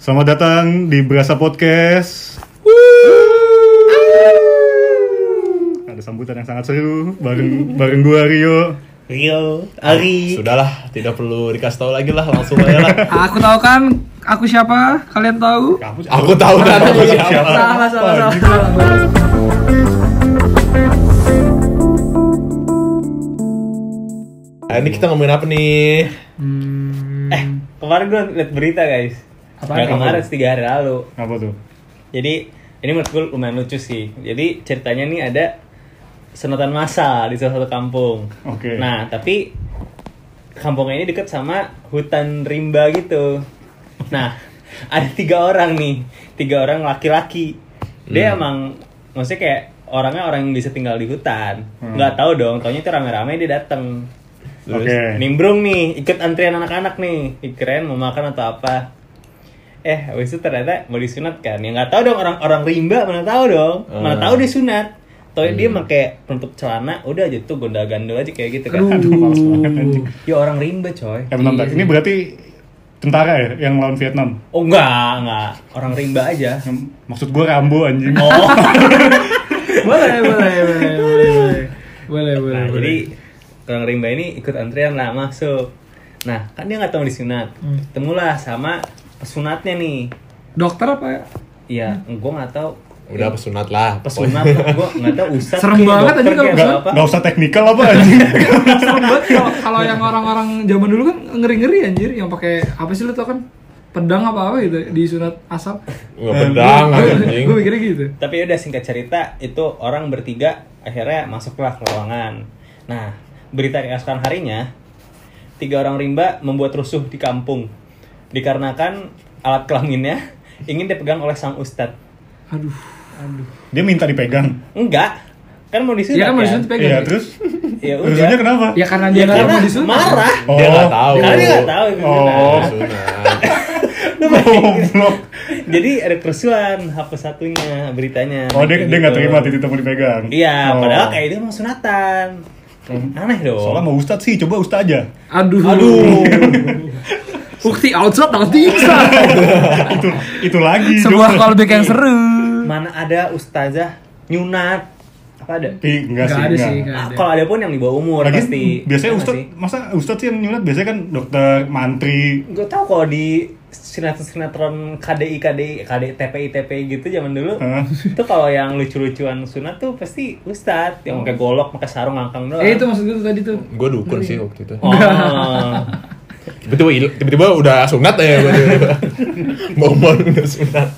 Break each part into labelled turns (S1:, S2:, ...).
S1: Selamat datang di Berasa Podcast. Ada sambutan yang sangat seru bareng bareng gua Rio.
S2: Rio,
S1: Ah,
S2: Ari.
S3: Sudahlah, tidak perlu dikasih tahu lagi lah, langsung aja lah.
S4: Aku tahu kan aku siapa? Kalian tahu?
S3: Aku tahu kan aku siapa.
S4: Salah, salah, salah.
S3: Nah, ini kita ngomongin apa nih?
S2: Eh, kemarin gue liat berita guys.
S4: Apaan?
S2: Nggak kemarin, tiga hari lalu.
S1: Apa tuh?
S2: Jadi, ini menurut gue lumayan lucu sih. Jadi, ceritanya nih ada senapan massa di salah satu kampung.
S1: Oke.
S2: Nah, tapi kampungnya ini deket sama hutan rimba gitu. Nah, ada tiga orang nih, tiga orang laki-laki.
S1: Hmm.
S2: Dia emang maksudnya kayak orangnya orang yang bisa tinggal di hutan.
S1: Hmm.
S2: Nggak tahu dong, taunya itu rame-rame dia dateng. Terus
S1: Oke.
S2: nimbrung nih, ikut antrian anak-anak nih. Ih, Keren mau makan atau apa. Eh, habis itu ternyata mau disunat kan. Ya nggak tahu dong orang-orang rimba mana tahu dong. Mana
S3: Ah.
S2: tahu disunat. Tau dia pakai penutup celana, udah aja tuh gondal-gandul aja kayak gitu kan.
S1: Aduh, males banget anjing.
S2: Ya orang rimba
S1: Eh,
S2: coy.
S1: bentar, bentar. Ini berarti tentara ya yang lawan Vietnam.
S2: Oh enggak, enggak. Orang rimba aja.
S1: Yang- Maksud gua Rambo anjing.
S2: Oh.
S4: Boleh, boleh, boleh, boleh, boleh. Boleh, boleh,
S2: nah,
S4: boleh.
S2: jadi orang rimba ini ikut antrian lah masuk. Nah, kan dia nggak tahu disunat.
S4: Hmm.
S2: Ketemulah sama pesunatnya nih.
S4: Dokter apa ya?
S2: Iya, gua nggak tahu
S3: Udah pesunat lah.
S2: pesunat
S3: pokoknya.
S2: gua nggak tahu ustaz
S4: Serem
S2: kayak
S4: banget
S2: dokter
S4: tadi kalau
S2: kayak
S4: pesunat.
S2: apa.
S1: Gak usah teknikal apa anjing.
S4: Serem banget kalau- kalau yang orang-orang zaman dulu kan ngeri-ngeri anjir yang pakai apa sih lu tau kan? Pedang apa apa gitu disunat asap.
S3: Nggak pedang anjing.
S4: Gue Eh, mikirnya gitu.
S2: Tapi udah singkat cerita itu orang bertiga akhirnya masuklah ke ruangan. Nah, berita dikasihkan harinya tiga orang rimba membuat rusuh di kampung dikarenakan alat kelaminnya ingin dipegang oleh sang ustadz.
S4: Aduh.
S1: Dia minta dipegang.
S2: Enggak, kan mau disunat
S4: Iya kan
S2: kan?
S4: mau disunat pegang.
S1: Iya,
S4: ya?
S1: terus
S2: Ya udah.
S1: rusuhnya kenapa?
S4: Ya karena
S2: Ya,
S4: dia nggak
S2: karena
S4: mau disunat.
S2: marah.
S1: Oh.
S3: Dia nggak tahu.
S2: Karena dia nggak tahu itu
S1: Oh.
S2: benar.
S3: Pesunat.
S1: Goblok.
S2: Jadi ada kerusuhan hapus satunya beritanya.
S1: Oh, dia dia nggak
S2: Gitu.
S1: terima titik mau dipegang.
S2: Iya,
S1: Oh. Hmm.
S2: padahal kayak itu emang sunatan. Aneh dong.
S1: Soalnya mau ustad sih, coba ustad aja.
S4: Aduh.
S2: Aduh.
S4: Bukti outside nanti
S1: itu itu lagi.
S4: Sebuah
S1: coba.
S4: callback yang seru.
S2: Mana ada ustazah nyunat? Apa ada?
S1: Tapi enggak sih,
S4: Gak ada sih,
S1: enggak.
S2: Ah,
S4: nggak ada.
S2: kalau ada pun yang di bawah umur
S1: Lagi
S2: pasti.
S1: biasanya
S2: Ya nggak
S1: ustad
S2: sih?
S1: masa ustad sih yang nyulat biasanya kan dokter, mantri.
S2: Gue tau kalau di sinetron-sinetron KDI KDI KDI TPI TPI gitu zaman dulu.
S1: Hah?
S2: Itu kalau yang lucu-lucuan sunat tuh pasti ustad yang pakai golok, pakai sarung ngangkang doang.
S4: Eh itu maksud gue tuh tadi tuh.
S3: Gue dukun sih waktu itu.
S2: Oh.
S3: Tiba-tiba il- tiba-tiba udah sunat ya gue. Mau-mau udah sunat.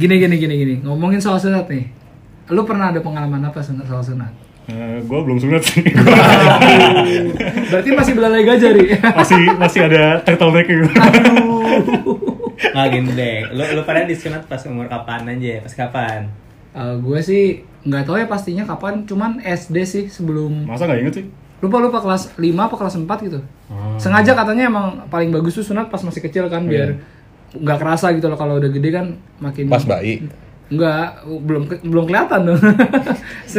S4: Gini gini gini gini. Ngomongin soal sunat nih. Lu pernah ada pengalaman apa sunat soal sunat?
S1: Eh, gue belum sunat sih. Gua
S4: Berarti masih belalai gajah, Ri.
S1: masih masih ada turtleneck gitu.
S2: Nggak gini deh. Lu lu pada disunat pas umur kapan aja? Pas kapan?
S4: Eh, gue sih nggak tahu ya pastinya kapan, cuman SD sih sebelum
S1: Masa nggak inget sih?
S4: lupa lupa kelas 5 apa kelas 4 gitu.
S3: Oh.
S4: Sengaja katanya emang paling bagus tuh sunat pas masih kecil kan biar nggak kerasa gitu loh kalau udah gede kan makin
S3: Iya. Pas bayi.
S4: Enggak, belum ke- belum kelihatan dong. Saya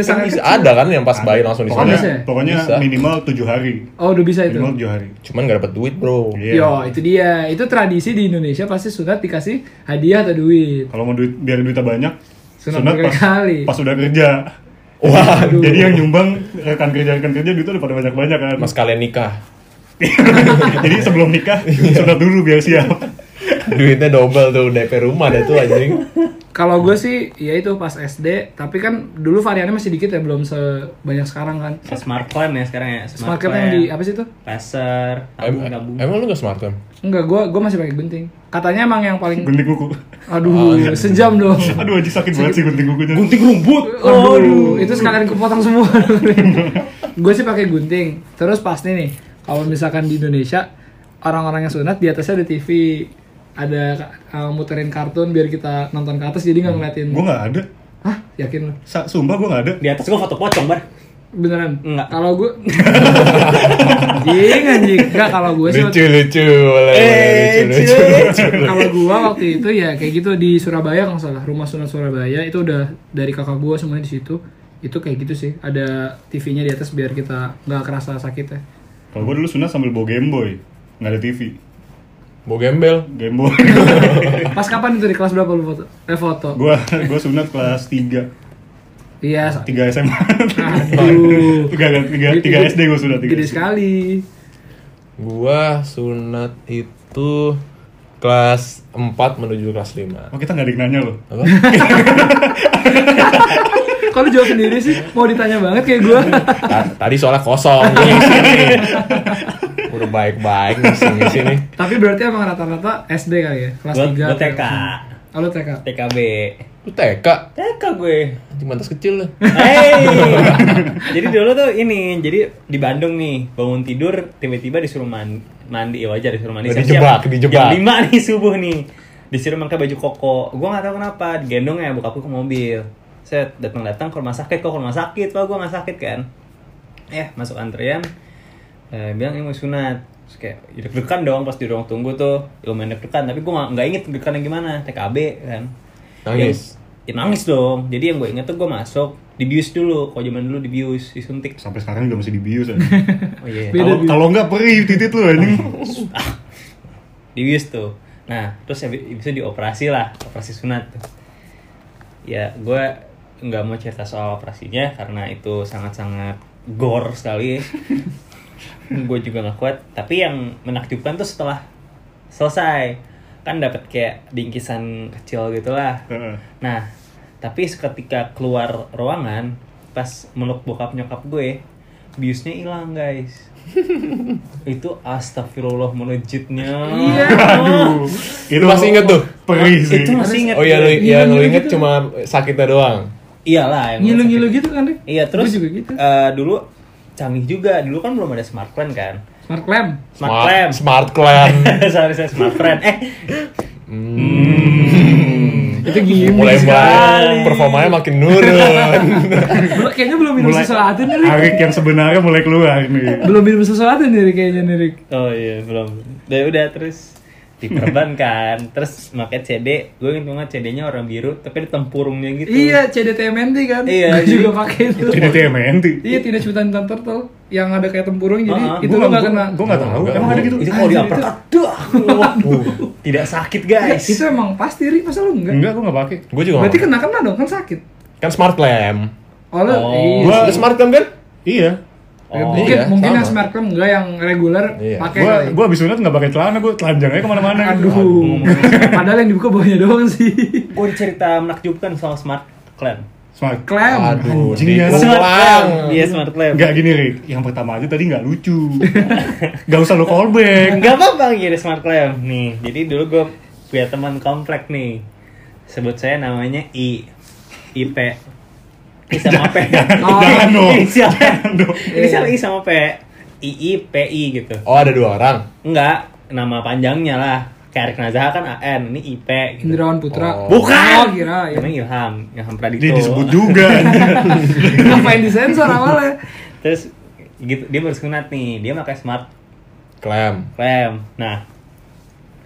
S3: Kan
S4: sangat
S3: bisa
S4: kecil.
S3: ada kan yang pas bayi langsung
S1: Pokoknya,
S3: disunat.
S4: bisa ya?
S1: pokoknya
S3: Bisa.
S1: minimal 7 hari.
S4: Oh, udah bisa itu.
S1: Minimal 7 hari.
S3: Cuman gak dapet duit bro.
S1: Iya.
S4: Yo, itu dia. Itu tradisi di Indonesia pasti sunat dikasih hadiah atau duit.
S1: Kalau mau duit biar duitnya banyak,
S4: Sunat berkali-kali.
S1: pas udah kerja.
S4: Waduh.
S1: Jadi yang nyumbang rekan kerja rekan kerja duitnya udah pada banyak banyak kan.
S3: Mas kalian nikah.
S1: Jadi sebelum nikah
S3: Iya.
S1: sunat dulu biar siap.
S3: Duitnya double tuh DP rumah dah tuh anjing.
S4: Kalau gue sih, ya itu pas SD. Tapi kan dulu variannya masih dikit ya, belum sebanyak sekarang kan.
S2: Pas smart plan ya sekarang ya. Smart
S4: Smartcap yang
S2: plan.
S4: di apa sih itu?
S2: Pasar,
S3: Em-
S2: tabung, tabung.
S3: emang lu gak smart kan?
S4: Enggak, gue gue masih pakai gunting. Katanya emang yang paling,
S1: Gunting Oh, iya, kuku.
S4: aduh, sejam dong.
S1: Aduh aja sakit banget sih gunting kukunya.
S3: Gunting rumput.
S4: Aduh, itu sekalian kepotong semua. gue sih pakai gunting. Terus pasti nih, kalau misalkan di Indonesia orang-orang yang sunat di atasnya ada TV, ada uh, muterin kartun biar kita nonton ke atas jadi nggak ngeliatin.
S1: Gue Hmm. nggak ada.
S4: Hah, yakin lo?
S1: Sa- Sumpah gue nggak ada.
S2: Di atas gua foto pocong, Bar.
S4: Beneran?
S2: Enggak.
S4: Kalau gue Anjing anjing Enggak kalau gue sih Eh,
S3: Lucu lucu. Boleh, boleh, lucu lucu.
S4: Kalau gue waktu itu ya kayak gitu di Surabaya kalau nggak salah Rumah Sunan Surabaya itu udah dari kakak gue semuanya di situ Itu kayak gitu sih Ada TV-nya di atas biar kita nggak kerasa ya. sakitnya
S1: Kalau gue dulu sunat sambil bawa Game Boy, nggak ada TV.
S3: Mau gembel.
S1: Gembol.
S4: Pas kapan itu di kelas berapa lu foto? Eh foto.
S1: gua gua sunat kelas 3.
S4: Iya. sa-
S1: 3 SMA.
S4: Aduh.
S1: tiga tiga
S4: Gede-
S1: tiga SD gua sunat tiga
S4: Gede
S1: SD.
S4: sekali.
S3: Gua sunat itu kelas 4 menuju kelas 5.
S1: Oh, kita nggak ada yang nanya loh.
S3: Apa?
S4: Kok lu jawab sendiri sih? Mau ditanya banget kayak gua.
S3: Ta- Tadi soalnya kosong. gua ngisi nih. Udah baik-baik ngisi ngisi nih.
S4: Tapi berarti emang rata-rata SD kali ya? Kelas
S2: Gua-
S4: 3.
S2: gua TK.
S4: Oh, lu TK.
S2: TKB
S3: Lu TK,
S2: TK gue
S3: anjing mantas kecil lu.
S2: Hey! jadi dulu tuh ini, jadi di Bandung nih bangun tidur tiba-tiba disuruh man- mandi, ya wajar disuruh mandi.
S3: Udah
S2: Siap-siap.
S3: dijebak, dijebak.
S2: Jam lima nih subuh nih, disuruh pakai baju koko. Gua nggak tahu kenapa, gendong ya bokap gua ke mobil. Set datang-datang ke rumah sakit, kok ke rumah sakit, pak gua nggak sakit kan? Eh masuk antrian, eh, bilang ini mau sunat. Terus kayak ya deg-degan dong pas di ruang tunggu tuh lumayan deg-degan tapi gua nggak- nggak inget deg-degannya gimana TKB kan
S3: Nangis.
S2: Ya, ya nangis dong. Jadi yang gue inget tuh gue masuk dibius dulu. Kalau zaman dulu dibius, disuntik.
S1: Sampai sekarang juga masih dibius aja.
S2: Oh iya.
S4: Beda Oh.
S1: Kalau
S4: bius.
S1: kalau nggak perih titit lu anjing.
S2: Dibius tuh. Nah, terus habis itu dioperasi lah, operasi sunat tuh. Ya, gue nggak mau cerita soal operasinya karena itu sangat-sangat gor sekali. gue juga nggak kuat. Tapi yang menakjubkan tuh setelah selesai kan dapat kayak bingkisan kecil gitu gitulah.
S1: Heeh.
S2: Nah, tapi seketika keluar ruangan, pas meluk bokap nyokap gue, biusnya hilang guys. Itu astagfirullah menejitnya.
S4: Iya.
S1: Aduh.
S3: Itu masih inget tuh.
S1: Perih sih.
S2: Itu masih inget.
S3: Oh iya lu
S4: Ngilu-ngilu
S3: yang lu inget
S4: gitu.
S3: cuma sakitnya doang.
S2: Iyalah. yang
S4: Ngilu-ngilu gitu kan, Rik?
S2: Iya terus
S4: Gua juga gitu.
S2: eh, dulu canggih juga. Dulu kan belum ada smartphone kan.
S4: Smart clam.
S2: Smart clamp.
S3: Smart clan.
S2: Sorry saya smart friend. Eh,
S4: Itu gimmick
S3: Iya, Mulai
S4: sekali.
S3: baik, performanya makin nurun.
S4: Gua kayaknya belum minum sesuatu nih, Rik.
S1: Arik yang sebenarnya mulai keluar nih.
S4: Belum minum sesuatu nih, Rik, kayaknya nih, Rik.
S2: Oh iya belum. Ya udah terus diperbankan. terus pakai CD, gue ingat banget CD-nya warna biru tapi ada tempurungnya gitu.
S4: Iya, CDTMNT kan?
S2: Iya,
S4: Gua
S2: jadi-
S4: juga pakai itu.
S1: Jadi TMNT.
S4: Iya, tidak cuitan tentang turtle yang ada kayak tempurung jadi
S2: Ah, ah.
S4: itu lo nggak kena.
S1: Gue nggak tahu.
S3: Nggak,
S1: Emang ada
S3: gua-
S1: gitu?
S2: Itu kalau di
S4: Anjir,
S2: uppercut, duh, waduh, tidak sakit guys.
S4: Iya, Itu emang pasti ri, masa lu enggak?
S1: Enggak, gue nggak pakai.
S3: Gue juga.
S4: Berarti
S3: Berarti
S4: kena kena dong kan sakit.
S3: kan smart clan.
S4: Oh, lu-
S2: Oh.
S4: iya.
S3: Gua smart clan kan?
S1: Iya.
S4: Ya,
S2: Oh,
S4: mungkin
S3: iya,
S4: mungkin
S3: sama.
S4: yang smart clam enggak yang reguler
S3: Iya.
S4: pakai.
S1: Gue
S4: kali.
S1: gue abis sunat nggak pakai celana. Gue telanjang aja kemana-mana.
S4: Aduh. Padahal yang dibuka bawahnya doang sih.
S2: gue cerita menakjubkan soal smart clan.
S1: Smart.
S4: Clam.
S3: Aduh,
S1: Anjing
S3: di-
S1: ya.
S2: Smart clan,
S3: Ulang.
S2: iya smart clan.
S1: Enggak gini Rick, yang pertama aja tadi nggak lucu Gak usah lo callback
S2: Enggak apa-apa gini smart clan nih. Jadi dulu gue punya teman komplek nih. Sebut saya namanya I. IP. I sama P.
S4: Oh.
S1: Jangan dong
S2: Inisial.
S1: dong.
S2: Inisial I sama P. II PI gitu.
S3: Oh ada dua orang.
S2: Enggak, nama panjangnya lah. Kayak Erik Nazaha kan AN, ini IP gitu.
S4: Indrawan Putra.
S3: Oh.
S2: Bukan.
S4: Oh, kira. Ya.
S2: Namanya Ilham, Ilham Pradito.
S1: Dia disebut juga anjing.
S2: gitu.
S4: Ngapain disensor awalnya?
S2: Terus gitu dia baru sunat nih, dia pakai smart
S3: Clam.
S2: rem. Nah,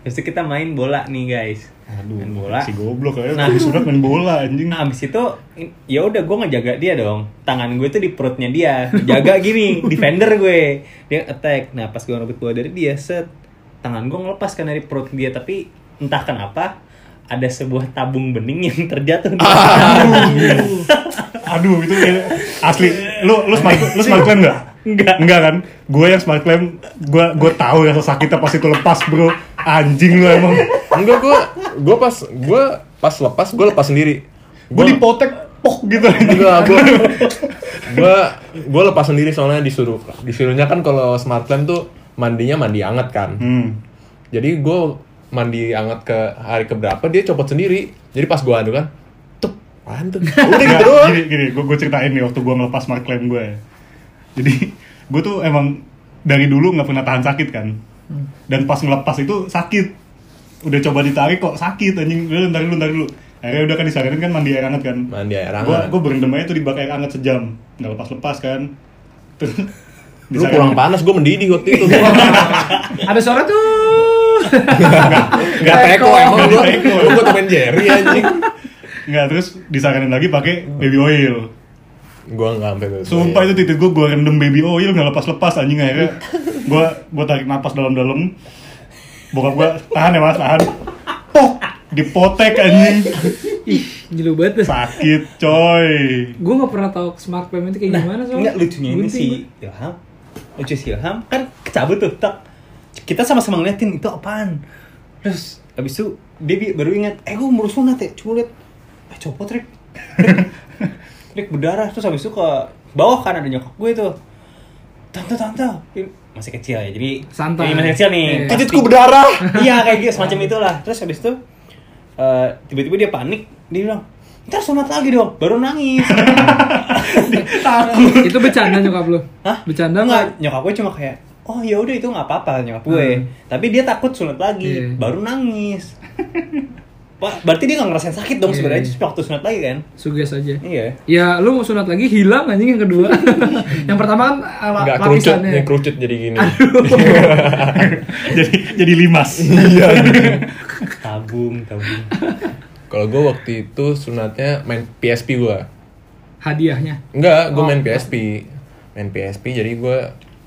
S2: terus itu kita main bola nih guys. main bola.
S1: Si goblok aja,
S2: Nah.
S1: nah. sunat main bola anjing
S2: Nah, abis itu in- ya udah gue ngejaga dia dong. Tangan gue tuh di perutnya dia, jaga gini, defender gue. Dia attack. Nah, pas gue ngebut bola dari dia, set tangan gue ngelepas karena di perut dia, tapi entah kenapa ada sebuah tabung bening yang terjatuh di
S1: Aduh itu kayak- asli Lu, lu smart, lu smart claim gak?
S2: Enggak.
S1: Enggak kan? Gue yang smart claim, gue gua tau rasa sakitnya pas itu lepas bro Anjing lu emang
S3: Enggak gua gua pas gua pas lepas gua lepas sendiri.
S1: Gue dipotek, pok gitu anjing
S3: Enggak, gua gua gua lepas sendiri soalnya disuruh. Disuruhnya kan kalau smart clam tuh mandinya mandi anget kan.
S1: Hmm.
S3: Jadi gua mandi anget ke hari keberapa dia copot sendiri. Jadi pas gua anu kan, tuh, apaan tuh? Udah gitu
S1: Nggak,
S3: doang.
S1: Gini, gini, gue, ceritain nih waktu gue ngelepas smart claim gue. ya. Jadi gue tuh emang dari dulu nggak pernah tahan sakit kan. Dan pas ngelepas itu sakit. Udah coba ditarik kok sakit anjing. Udah ntar dulu, ntar dulu. Akhirnya udah kan disaranin kan mandi air hangat kan.
S3: Mandi air
S1: Gue
S3: hangat.
S1: gue berendam aja tuh di bak air hangat sejam. Nggak lepas-lepas kan. Terus
S3: Lu kurang panas, gua mendidih waktu itu.
S4: Ada suara tuh.
S3: Gak teko emang
S1: Nggak
S3: gua.
S1: teko.
S3: Lu gua temen Jerry anjing.
S1: Nggak, terus disaranin lagi pakai baby oil.
S3: Gua nggak sampai tuh.
S1: Sumpah
S4: Iya.
S1: itu titik gue, gue rendem baby oil nggak lepas-lepas anjing akhirnya. Gue gue tarik napas dalam-dalam. bokap gua tahan ya mas tahan pok dipotek anjing
S4: Ih, gila banget.
S1: sakit coy
S4: Gue gak pernah tahu smart pen itu kayak gimana soalnya.
S2: Nah, Enggak lucunya ini
S4: Gunting.
S2: si Ilham. Lucu si Ilham kan kecabut tuh. tak. Kita sama-sama ngeliatin itu apaan. Terus abis itu dia bi- baru ingat, eh gue umur sunat ya, coba liat. Eh copot Rick. Rick. Rick berdarah, terus abis itu ke bawah kan ada nyokap gue tuh. Tante, tante. Ini Masih kecil ya, jadi
S4: Santai.
S2: Ini masih kecil nih.
S4: Iya.
S2: Pasti-
S3: Titikku berdarah.
S2: iya kayak gitu semacam itulah terus habis itu eh, tiba-tiba dia panik dia bilang ntar sunat lagi dong baru nangis
S4: Itu bercanda nyokap lu?
S2: Hah?
S4: Bercanda
S2: nggak
S4: nggak?
S2: nyokap gue cuma kayak oh ya udah itu nggak apa-apa nyokap gue
S4: Hmm.
S2: tapi dia takut sunat lagi
S4: Iya.
S2: baru nangis Pak, berarti dia nggak ngerasain sakit dong
S4: Iya.
S2: sebenarnya sebenarnya waktu sunat lagi kan
S4: Suges aja.
S2: iya
S4: Ya lu mau sunat lagi hilang anjing yang kedua. yang pertama kan ala-
S3: Enggak kerucut,
S4: lapisannya.
S3: yang kerucut jadi gini.
S1: jadi jadi limas
S3: Iya.
S2: tabung tabung
S3: Kalau gue waktu itu sunatnya main PSP gue.
S4: Hadiahnya.
S3: Enggak, gue main
S4: Oh.
S3: PSP. Main PSP jadi gue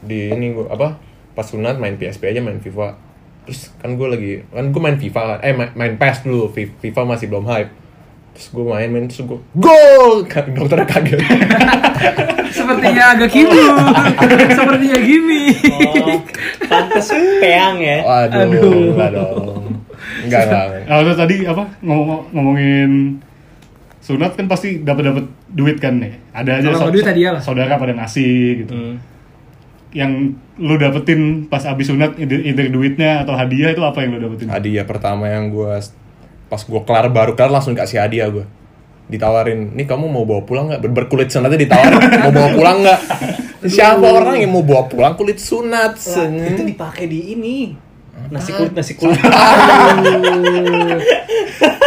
S3: di ini gue apa? Pas sunat main PSP aja main FIFA. Terus kan gue lagi kan gue main FIFA kan. Eh main, main PES dulu. Fi- FIFA masih belum hype. Terus gue main main terus gue gol. Ka- Dokternya kaget.
S4: Sepertinya agak kimu. Sepertinya gimmick.
S2: oh pantes peang ya
S3: Waduh,
S4: Aduh.
S3: enggak dong. Enggak enggak.
S1: Kalau Nah, tadi apa ngomong ngomongin sunat kan pasti dapat dapat duit kan nih. Ada aja
S4: Kalau nggak duit, hadiah lah.
S1: saudara pada ngasih gitu.
S2: Hmm.
S1: Yang lu dapetin pas abis sunat either, either duitnya atau hadiah itu apa yang lu dapetin?
S3: Hadiah pertama yang gue pas gue kelar baru kelar langsung kasih hadiah gue ditawarin nih kamu mau bawa pulang nggak Ber- berkulit sunatnya ditawarin mau bawa pulang nggak siapa orang yang mau bawa pulang kulit sunat
S2: Lah, itu
S3: sen-
S2: dipakai di ini nasi kulit nasi kulit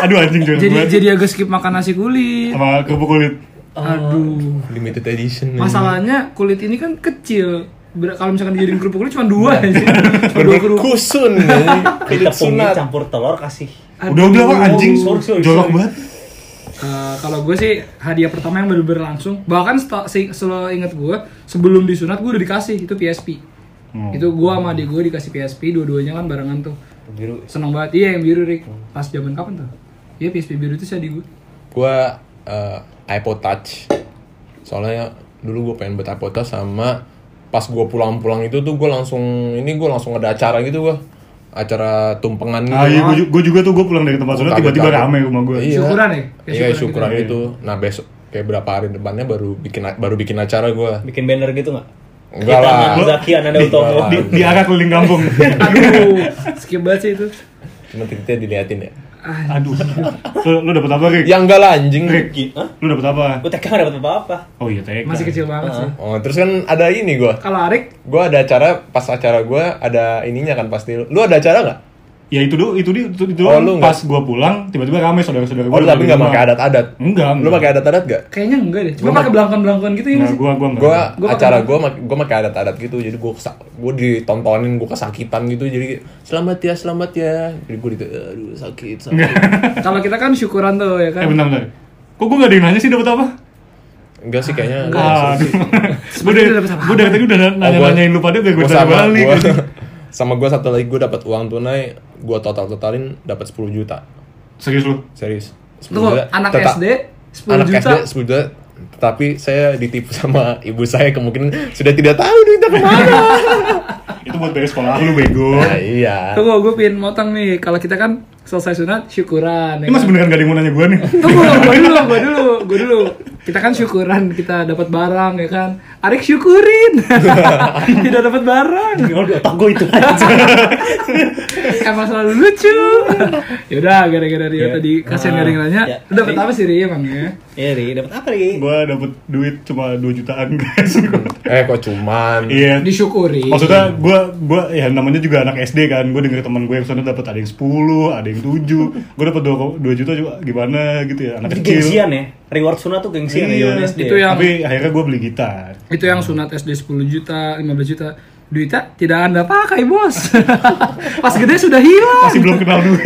S1: Aduh anjing
S2: Oh.
S1: jorok
S4: jadi
S1: banget.
S4: jadi agak skip makan nasi kulit.
S1: sama kerupuk kulit.
S2: Oh.
S4: Aduh.
S3: limited edition
S4: Masalahnya kulit ini kan kecil. Ber- kalau misalkan dijadiin kerupuk kulit cuma dua
S1: Iya.
S4: aja. Cuma dua kerupuk.
S3: berkusun kulit
S2: ditepungin
S3: sunat
S2: campur telur kasih
S1: Udah udah Pak, anjing
S2: sorry, sorry,
S1: jorok
S2: sorry.
S1: banget.
S4: Eh, kalau gue sih hadiah pertama yang bener-bener langsung bahkan seta- se- selalu inget gue sebelum disunat gue udah dikasih itu PSP
S1: Hmm.
S4: itu gue sama adik gue dikasih PSP dua-duanya kan barengan tuh
S2: biru Hmm.
S4: seneng banget iya yang biru Rick pas zaman kapan tuh iya PSP biru itu sih adik gue
S3: gue eh, iPod Touch soalnya dulu gue pengen buat iPod Touch sama pas gue pulang-pulang itu tuh gue langsung ini gue langsung ada acara gitu gue acara tumpengan gitu
S1: Ah iya, gua, ju- gua juga tuh gua pulang dari tempat sunat
S3: Kaget-kaget.
S1: tiba-tiba rame rumah gua.
S3: Iya.
S4: Syukuran ya? Ya,
S3: Iya,
S4: syukuran
S3: syukuran
S1: gitu.
S3: itu. Nah, besok kayak berapa hari depannya baru bikin baru bikin acara gua.
S2: bikin banner gitu nggak? Kita
S3: Enggak lah.
S2: nggak Zaki Ananda
S3: Di-
S2: Utomo.
S3: enggak
S1: Di, di arah keliling kampung.
S3: Iya.
S4: aduh skip banget sih itu
S3: Cuma titiknya diliatin ya.
S4: ah,
S1: Aduh. Lu, lu dapat apa, Rick?
S3: Ya enggak lah anjing.
S1: Rick,
S2: Hah?
S1: lu dapat apa?
S2: Gue TK nggak dapat apa-apa.
S1: Oh iya, TK.
S4: masih kecil banget sih
S3: Oh, terus kan ada ini gua.
S4: kalau Arik
S3: Gua ada acara pas acara gua ada ininya kan pasti. Lu ada acara nggak?
S1: Ya itu dulu, itu di- itu, itu
S3: Oh, lu
S1: pas gua pulang tiba-tiba rame saudara-saudara
S3: Oh,
S1: gua.
S3: lu
S1: dari
S3: tapi nggak
S1: rumah. Hmm.
S3: pakai adat-adat.
S1: Enggak,
S3: Lu pakai adat-adat gak?
S4: kayaknya enggak deh cuma pakai belangkon-belangkon gitu ya nggak
S1: Enggak,
S4: sih
S1: gua gua enggak.
S3: Gua,
S4: Gua pakai
S3: acara
S4: adat.
S3: gua mak- gua pakai adat-adat gitu. Jadi gua kesa- gua ditontonin gua kesakitan gitu. Jadi selamat ya, selamat ya. Jadi gua gitu aduh sakit, sakit.
S4: kalau kita kan syukuran tuh
S1: Eh
S4: ya kan
S1: bentar bentar. Kok gua enggak ada yang nanya sih dapat apa?
S3: Enggak sih kayaknya.
S4: Enggak.
S3: enggak sih.
S1: Aduh. gua dari
S4: Dapet apa?
S1: gua dari tadi udah
S3: Oh, gua-
S1: nanya-nanyain lu pada biar gua
S3: gua
S1: tanya
S3: sama
S1: balik.
S3: gua, sama gue satu lagi gue dapat uang tunai gue total totalin dapat 10 juta
S1: Serius lu?
S3: serius 10
S4: tuh anak
S3: Teta-
S4: SD 10
S3: anak
S4: juta
S3: SD 10 juta tapi saya ditipu sama ibu saya kemungkinan sudah tidak tahu duitnya kemana
S1: Itu buat bayar sekolah lu bego.
S3: nah, iya
S4: Tunggu, gue pin motong nih. Kalau kita kan selesai sunat, syukuran. Ya
S1: Ini masih
S4: kan?
S1: beneran gak ada yang mau nanya gua nih.
S4: Tunggu, gue dulu, gue dulu, gue dulu. Kita kan syukuran, kita dapat barang ya kan. Arik syukurin, tidak dapat barang.
S2: Oh, di otak gue itu aja.
S4: Emang selalu lucu. Yaudah, gara-gara Rio
S2: Ya.
S4: tadi kasihan
S2: Ah,
S4: gak ada yang nanya.
S2: ya.
S4: Lu Dapat apa sih Rio emangnya?
S2: Iya, Ri, dapat apa, Ri?
S1: Gua dapet duit cuma 2 jutaan guys.
S3: eh kok cuman
S1: Iya.
S4: Disyukuri.
S1: Maksudnya gua gua ya namanya juga anak SD kan. Gua denger teman gue yang sana dapat ada yang 10, ada yang 7. Gua dapat 2, 2 juta juga gimana gitu ya anak
S2: Itu
S1: kecil.
S2: gengsian ya. Reward sunat tuh gengsian
S1: Iya,
S2: ya zaman SD.
S4: itu ya.
S1: Tapi akhirnya gua beli gitar.
S4: Itu yang sunat SD 10 juta, 15 juta. Duitnya tidak anda pakai bos. Pas gede sudah hilang.
S1: Masih belum kenal duit.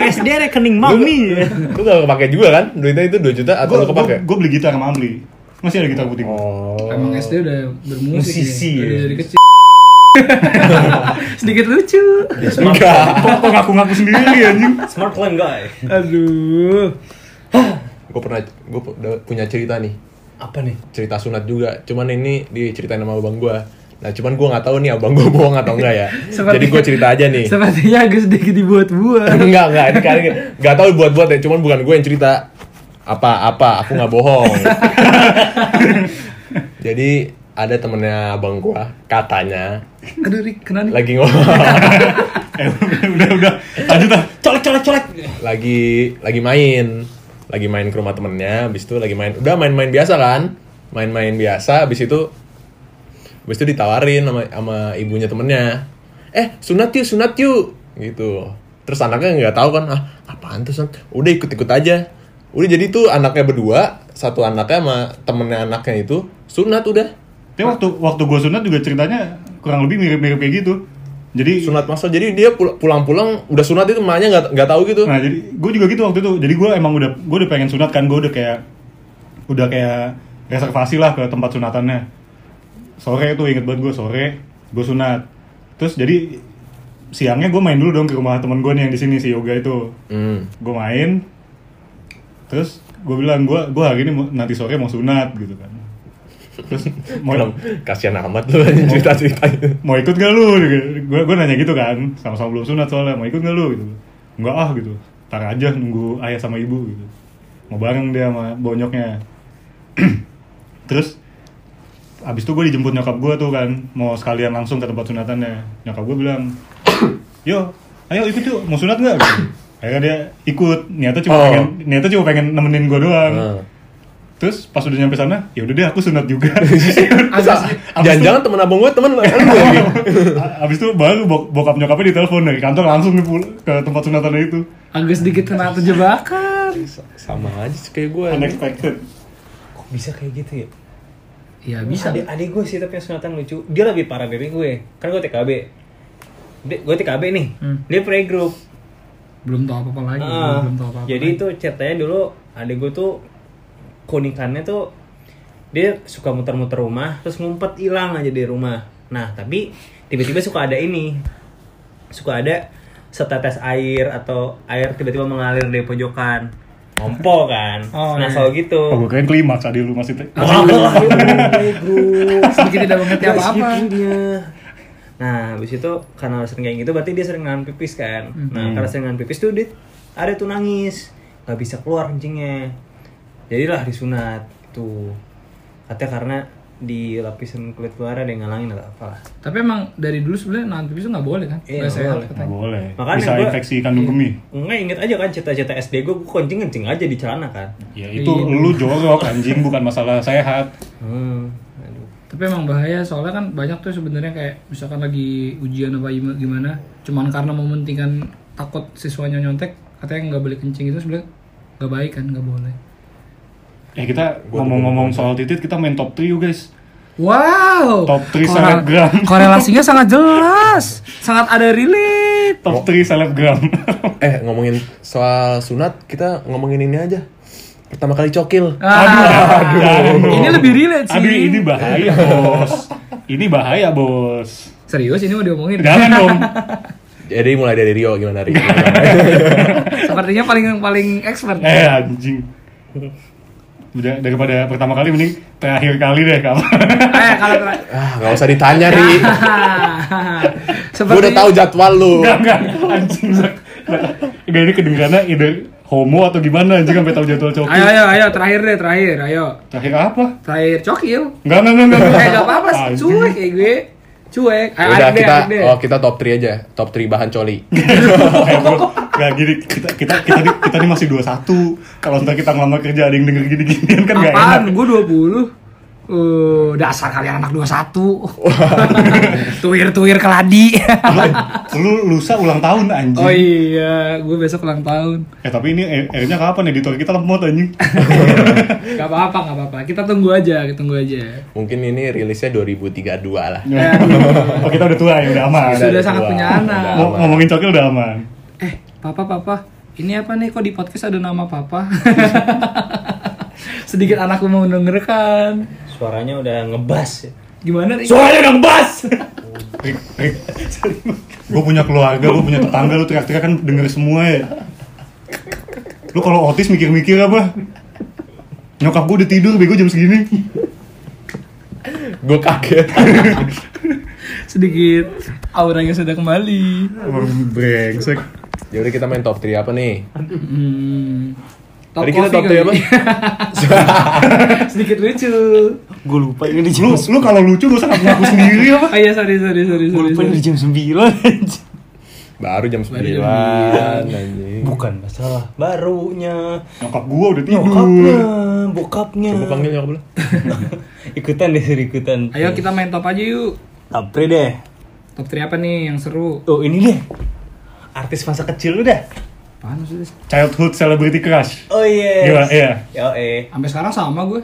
S2: SD rekening mami.
S3: lu gak kepake juga kan duitnya itu 2 juta atau
S1: gue
S3: lu kepake
S1: gue beli gitar sama Amri masih ada gitar putih gua.
S3: oh
S4: Emang SD udah bermusik.
S2: Musisi
S4: ya.
S2: ya.
S4: Udah dari kecil. Sedikit lucu.
S3: Enggak.
S1: Kok ngaku-ngaku sendiri anjing?
S2: Smart claim guy.
S4: Aduh.
S3: Gue pernah gue punya cerita nih.
S2: Apa nih?
S3: cerita sunat juga cuman ini diceritain sama abang gua nah cuman gua nggak tahu nih abang gua bohong atau enggak ya
S4: Seperti-
S3: jadi gua cerita aja nih
S4: Sepertinya agak sedikit dibuat-buat.
S3: enggak enggak ini kali nggak tahu buat buat ya cuman bukan gua yang cerita apa apa aku nggak bohong jadi ada temennya abang gua katanya
S4: Aduh, Rik, kena nih.
S3: lagi ngomong
S1: Eh, udah udah lanjut ah. lah.
S2: Colek colek colek.
S3: lagi lagi main lagi main ke rumah temennya habis itu lagi main udah main-main biasa kan main-main biasa habis itu habis itu ditawarin sama sama ibunya temennya eh sunat yuk sunat yuk gitu terus anaknya nggak tahu kan ah apaan tuh sunat udah ikut-ikut aja udah jadi tuh anaknya berdua satu anaknya sama temennya anaknya itu sunat udah
S1: Tapi waktu waktu gue sunat juga ceritanya kurang lebih mirip-mirip kayak gitu. Jadi
S3: sunat masal jadi dia pul- pulang-pulang udah sunat itu emaknya nggak nggak tahu gitu
S1: Nah jadi gue juga gitu waktu itu. Jadi gue emang udah gue udah pengen sunat kan. Gue udah kayak udah kayak reservasi lah ke tempat sunatannya. Sore tuh inget banget gue sore gue sunat. Terus jadi siangnya gue main dulu dong ke rumah temen gue nih yang di sini si Yoga itu.
S3: hmm.
S1: Gue main. Terus gue bilang gue gue hari ini mau- nanti sore mau sunat gitu kan. Terus mau
S3: Kenapa? Hmm. kasihan amat lu cerita-cerita itu
S1: mau ikut gak lu? Gue gue nanya gitu kan, sama-sama belum sunat soalnya, mau ikut gak lu? Gitu. Enggak ah gitu, tar aja nunggu ayah sama ibu gitu. Mau bareng dia sama bonyoknya. Terus abis itu gue dijemput nyokap gue tuh kan, mau sekalian langsung ke tempat sunatannya. Nyokap gue bilang, yo, ayo ikut yuk, mau sunat gak? Gitu. Akhirnya dia ikut, niatnya cuma
S3: Oh.
S1: pengen, niatnya cuma pengen nemenin gue doang.
S3: Hmm.
S1: Terus pas udah nyampe sana, ya udah deh aku sunat juga.
S3: Masa?
S1: Abis
S3: Jangan-jangan temen abang gue temen Iya, lu lagi.
S1: A- Abis itu baru bok- bokap nyokapnya ditelepon dari kantor langsung ke, pul- ke tempat sunatannya itu
S4: Agak sedikit kena terjebakan.
S3: Sama aja sih kayak gue.
S1: Unexpected
S2: Kok bisa kayak gitu ya?
S4: Ya bisa.
S2: Adik, adik gue sih tapi yang sunatan lucu. Dia lebih parah dari gue. Kan gue TKB. Dia- gue TKB nih.
S4: Hmm.
S2: Dia playgroup.
S4: Belum tahu apa-apa lagi.
S2: Ah,
S4: Belum tahu apa-apa. kan.
S2: jadi itu ceritanya dulu adik gue tuh kunikannya tuh dia suka muter-muter rumah terus ngumpet hilang aja di rumah nah tapi tiba-tiba suka ada ini suka ada setetes air atau air tiba-tiba mengalir dari pojokan ngompol kan
S4: Oh,
S2: nah
S4: iya.
S2: soal gitu
S1: Oh gue keren klimaks adil lu masih te-
S2: Wah, playgroup.
S4: sedikit tidak mengerti
S2: Guys,
S4: apa-apa.
S3: gitu.
S2: gitunya. Nah, habis itu karena sering kayak gitu berarti dia sering ngan pipis kan. Nah, karena sering ngan pipis tuh dia ada tuh nangis, nggak bisa keluar kencingnya. Jadilah disunat tuh. Katanya karena di lapisan kulit luar ada yang ngalangin atau apalah.
S4: Tapi emang dari dulu sebenarnya nahan pipis tuh nggak boleh kan?
S2: Iya,
S4: Nggak
S2: nggak
S4: sehat
S2: boleh.
S1: Nggak
S4: katanya.
S1: boleh
S2: Makanya
S1: Bisa
S2: gua-
S1: infeksi kandung kemih
S2: Enggak inget aja kan cita-cita SD gue, gue kencing-kencing aja di celana kan.
S1: Ya itu lu jorok anjing bukan masalah sehat
S2: Hmm, aduh.
S4: Tapi emang bahaya soalnya kan banyak tuh sebenarnya kayak misalkan lagi ujian apa gim- gimana, cuman karena mementingkan takut siswanya nyontek, katanya nggak boleh kencing itu sebenarnya nggak baik kan, nggak boleh.
S1: Eh kita ngomong-ngomong soal titit kita main top 3 yuk guys
S4: Wow.
S1: Top three selebgram.
S4: Korelasinya sangat jelas, sangat ada relate.
S1: Top 3 selebgram
S3: Eh ngomongin soal sunat kita ngomongin ini aja. Pertama kali cokil.
S4: Ah,
S1: Jangan dong.
S4: ini lebih relate sih.
S1: Aduh ini bahaya bos Ini bahaya bos
S4: Serius ini mau diomongin.
S1: Jangan dong
S3: Jadi mulai dari Rio gimana Rio?
S4: Sepertinya paling paling expert.
S1: Eh anjing Udah, daripada pertama kali mending terakhir kali deh kapan
S4: eh kalau tra-
S3: ah nggak usah ditanya Ri. Gue udah tahu jadwal lu.
S1: Enggak, enggak, anjing Zak. Zak. Enggak ini kedengarannya ide homo atau gimana anjing sampai tahu jadwal coki.
S4: Ayo ayo ayo terakhir deh terakhir ayo
S1: Terakhir apa?
S4: terakhir cokil.
S1: Enggak, enggak, enggak, enggak.
S4: Eh gak apa-apa sih
S1: Anjing.
S4: cuek kayak gue cuek. Ayo
S3: Udah
S4: deh
S3: kita
S4: ayo Ah, deh.
S3: oh kita top 3 aja. Top 3 bahan coli.
S1: Eh, bro, Enggak gini, kita kita kita di, kita ini masih 21. Kalau ntar kita ngelamar kerja ada yang denger gini-ginian kan enggak enak.
S4: Apaan? Gue 20 Eh, dasar kalian anak 21 Tuir-tuir keladi
S1: Lu, lu lusa ulang tahun anjing.
S4: Oh iya, gue besok ulang tahun
S1: Eh tapi ini air- airnya kapan editor kita lemot anjing.
S4: Gak apa-apa, gak apa-apa Kita tunggu aja, kita tunggu aja
S3: Mungkin ini rilisnya 2032 lah.
S4: Iya,
S1: oh, kita udah tua ya, udah aman.
S4: Sudah
S3: ada
S4: sangat
S3: dua.
S4: punya anak
S3: Udah.
S1: Ngo- ngomongin cokil udah aman.
S4: Eh, papa, papa Ini apa nih, kok di podcast ada nama papa? Sedikit anakku mau dengerkan
S2: Suaranya udah ngebas.
S4: Gimana? Ri?
S2: Suaranya udah ngebas.
S1: Rik, Rik. Gue punya keluarga, gue punya tetangga, lu teriak-teriak kan denger semua ya. Lu kalau otis mikir-mikir apa? Nyokap gue udah tidur, bego jam segini.
S3: Gue kaget.
S4: Sedikit auranya sudah kembali.
S1: Orang Brengsek.
S3: Jadi kita main top 3 apa nih?
S4: Hmm.
S3: Tadi kita top 3 apa?
S4: Sedikit lucu.
S2: Gue lupa ini di
S1: Lu,
S2: jam
S1: lu kalau lucu gak usah ngaku sendiri apa?
S4: Oh iya, sorry, sorry, sorry.
S2: Gue
S4: sorry,
S2: lupa ini di
S4: sorry.
S2: jam 9
S3: Baru jam 9
S4: jam
S3: anjing.
S2: Bukan masalah Barunya
S1: Nyokap gue udah
S2: Bokapnya
S1: tidur.
S2: Bokapnya
S3: Coba panggil nyokap lu.
S2: Ikutan deh suruh ikutan
S4: Ayo kita main top aja yuk.
S2: Apri deh
S4: Top 3 apa nih yang seru?
S2: Oh ini deh Artis masa kecil lu dah
S4: Apaan maksudnya?
S1: Childhood Celebrity Crush.
S2: Oh yes
S1: Gila, iya.
S2: Yo eh
S4: Sampai sekarang sama gue.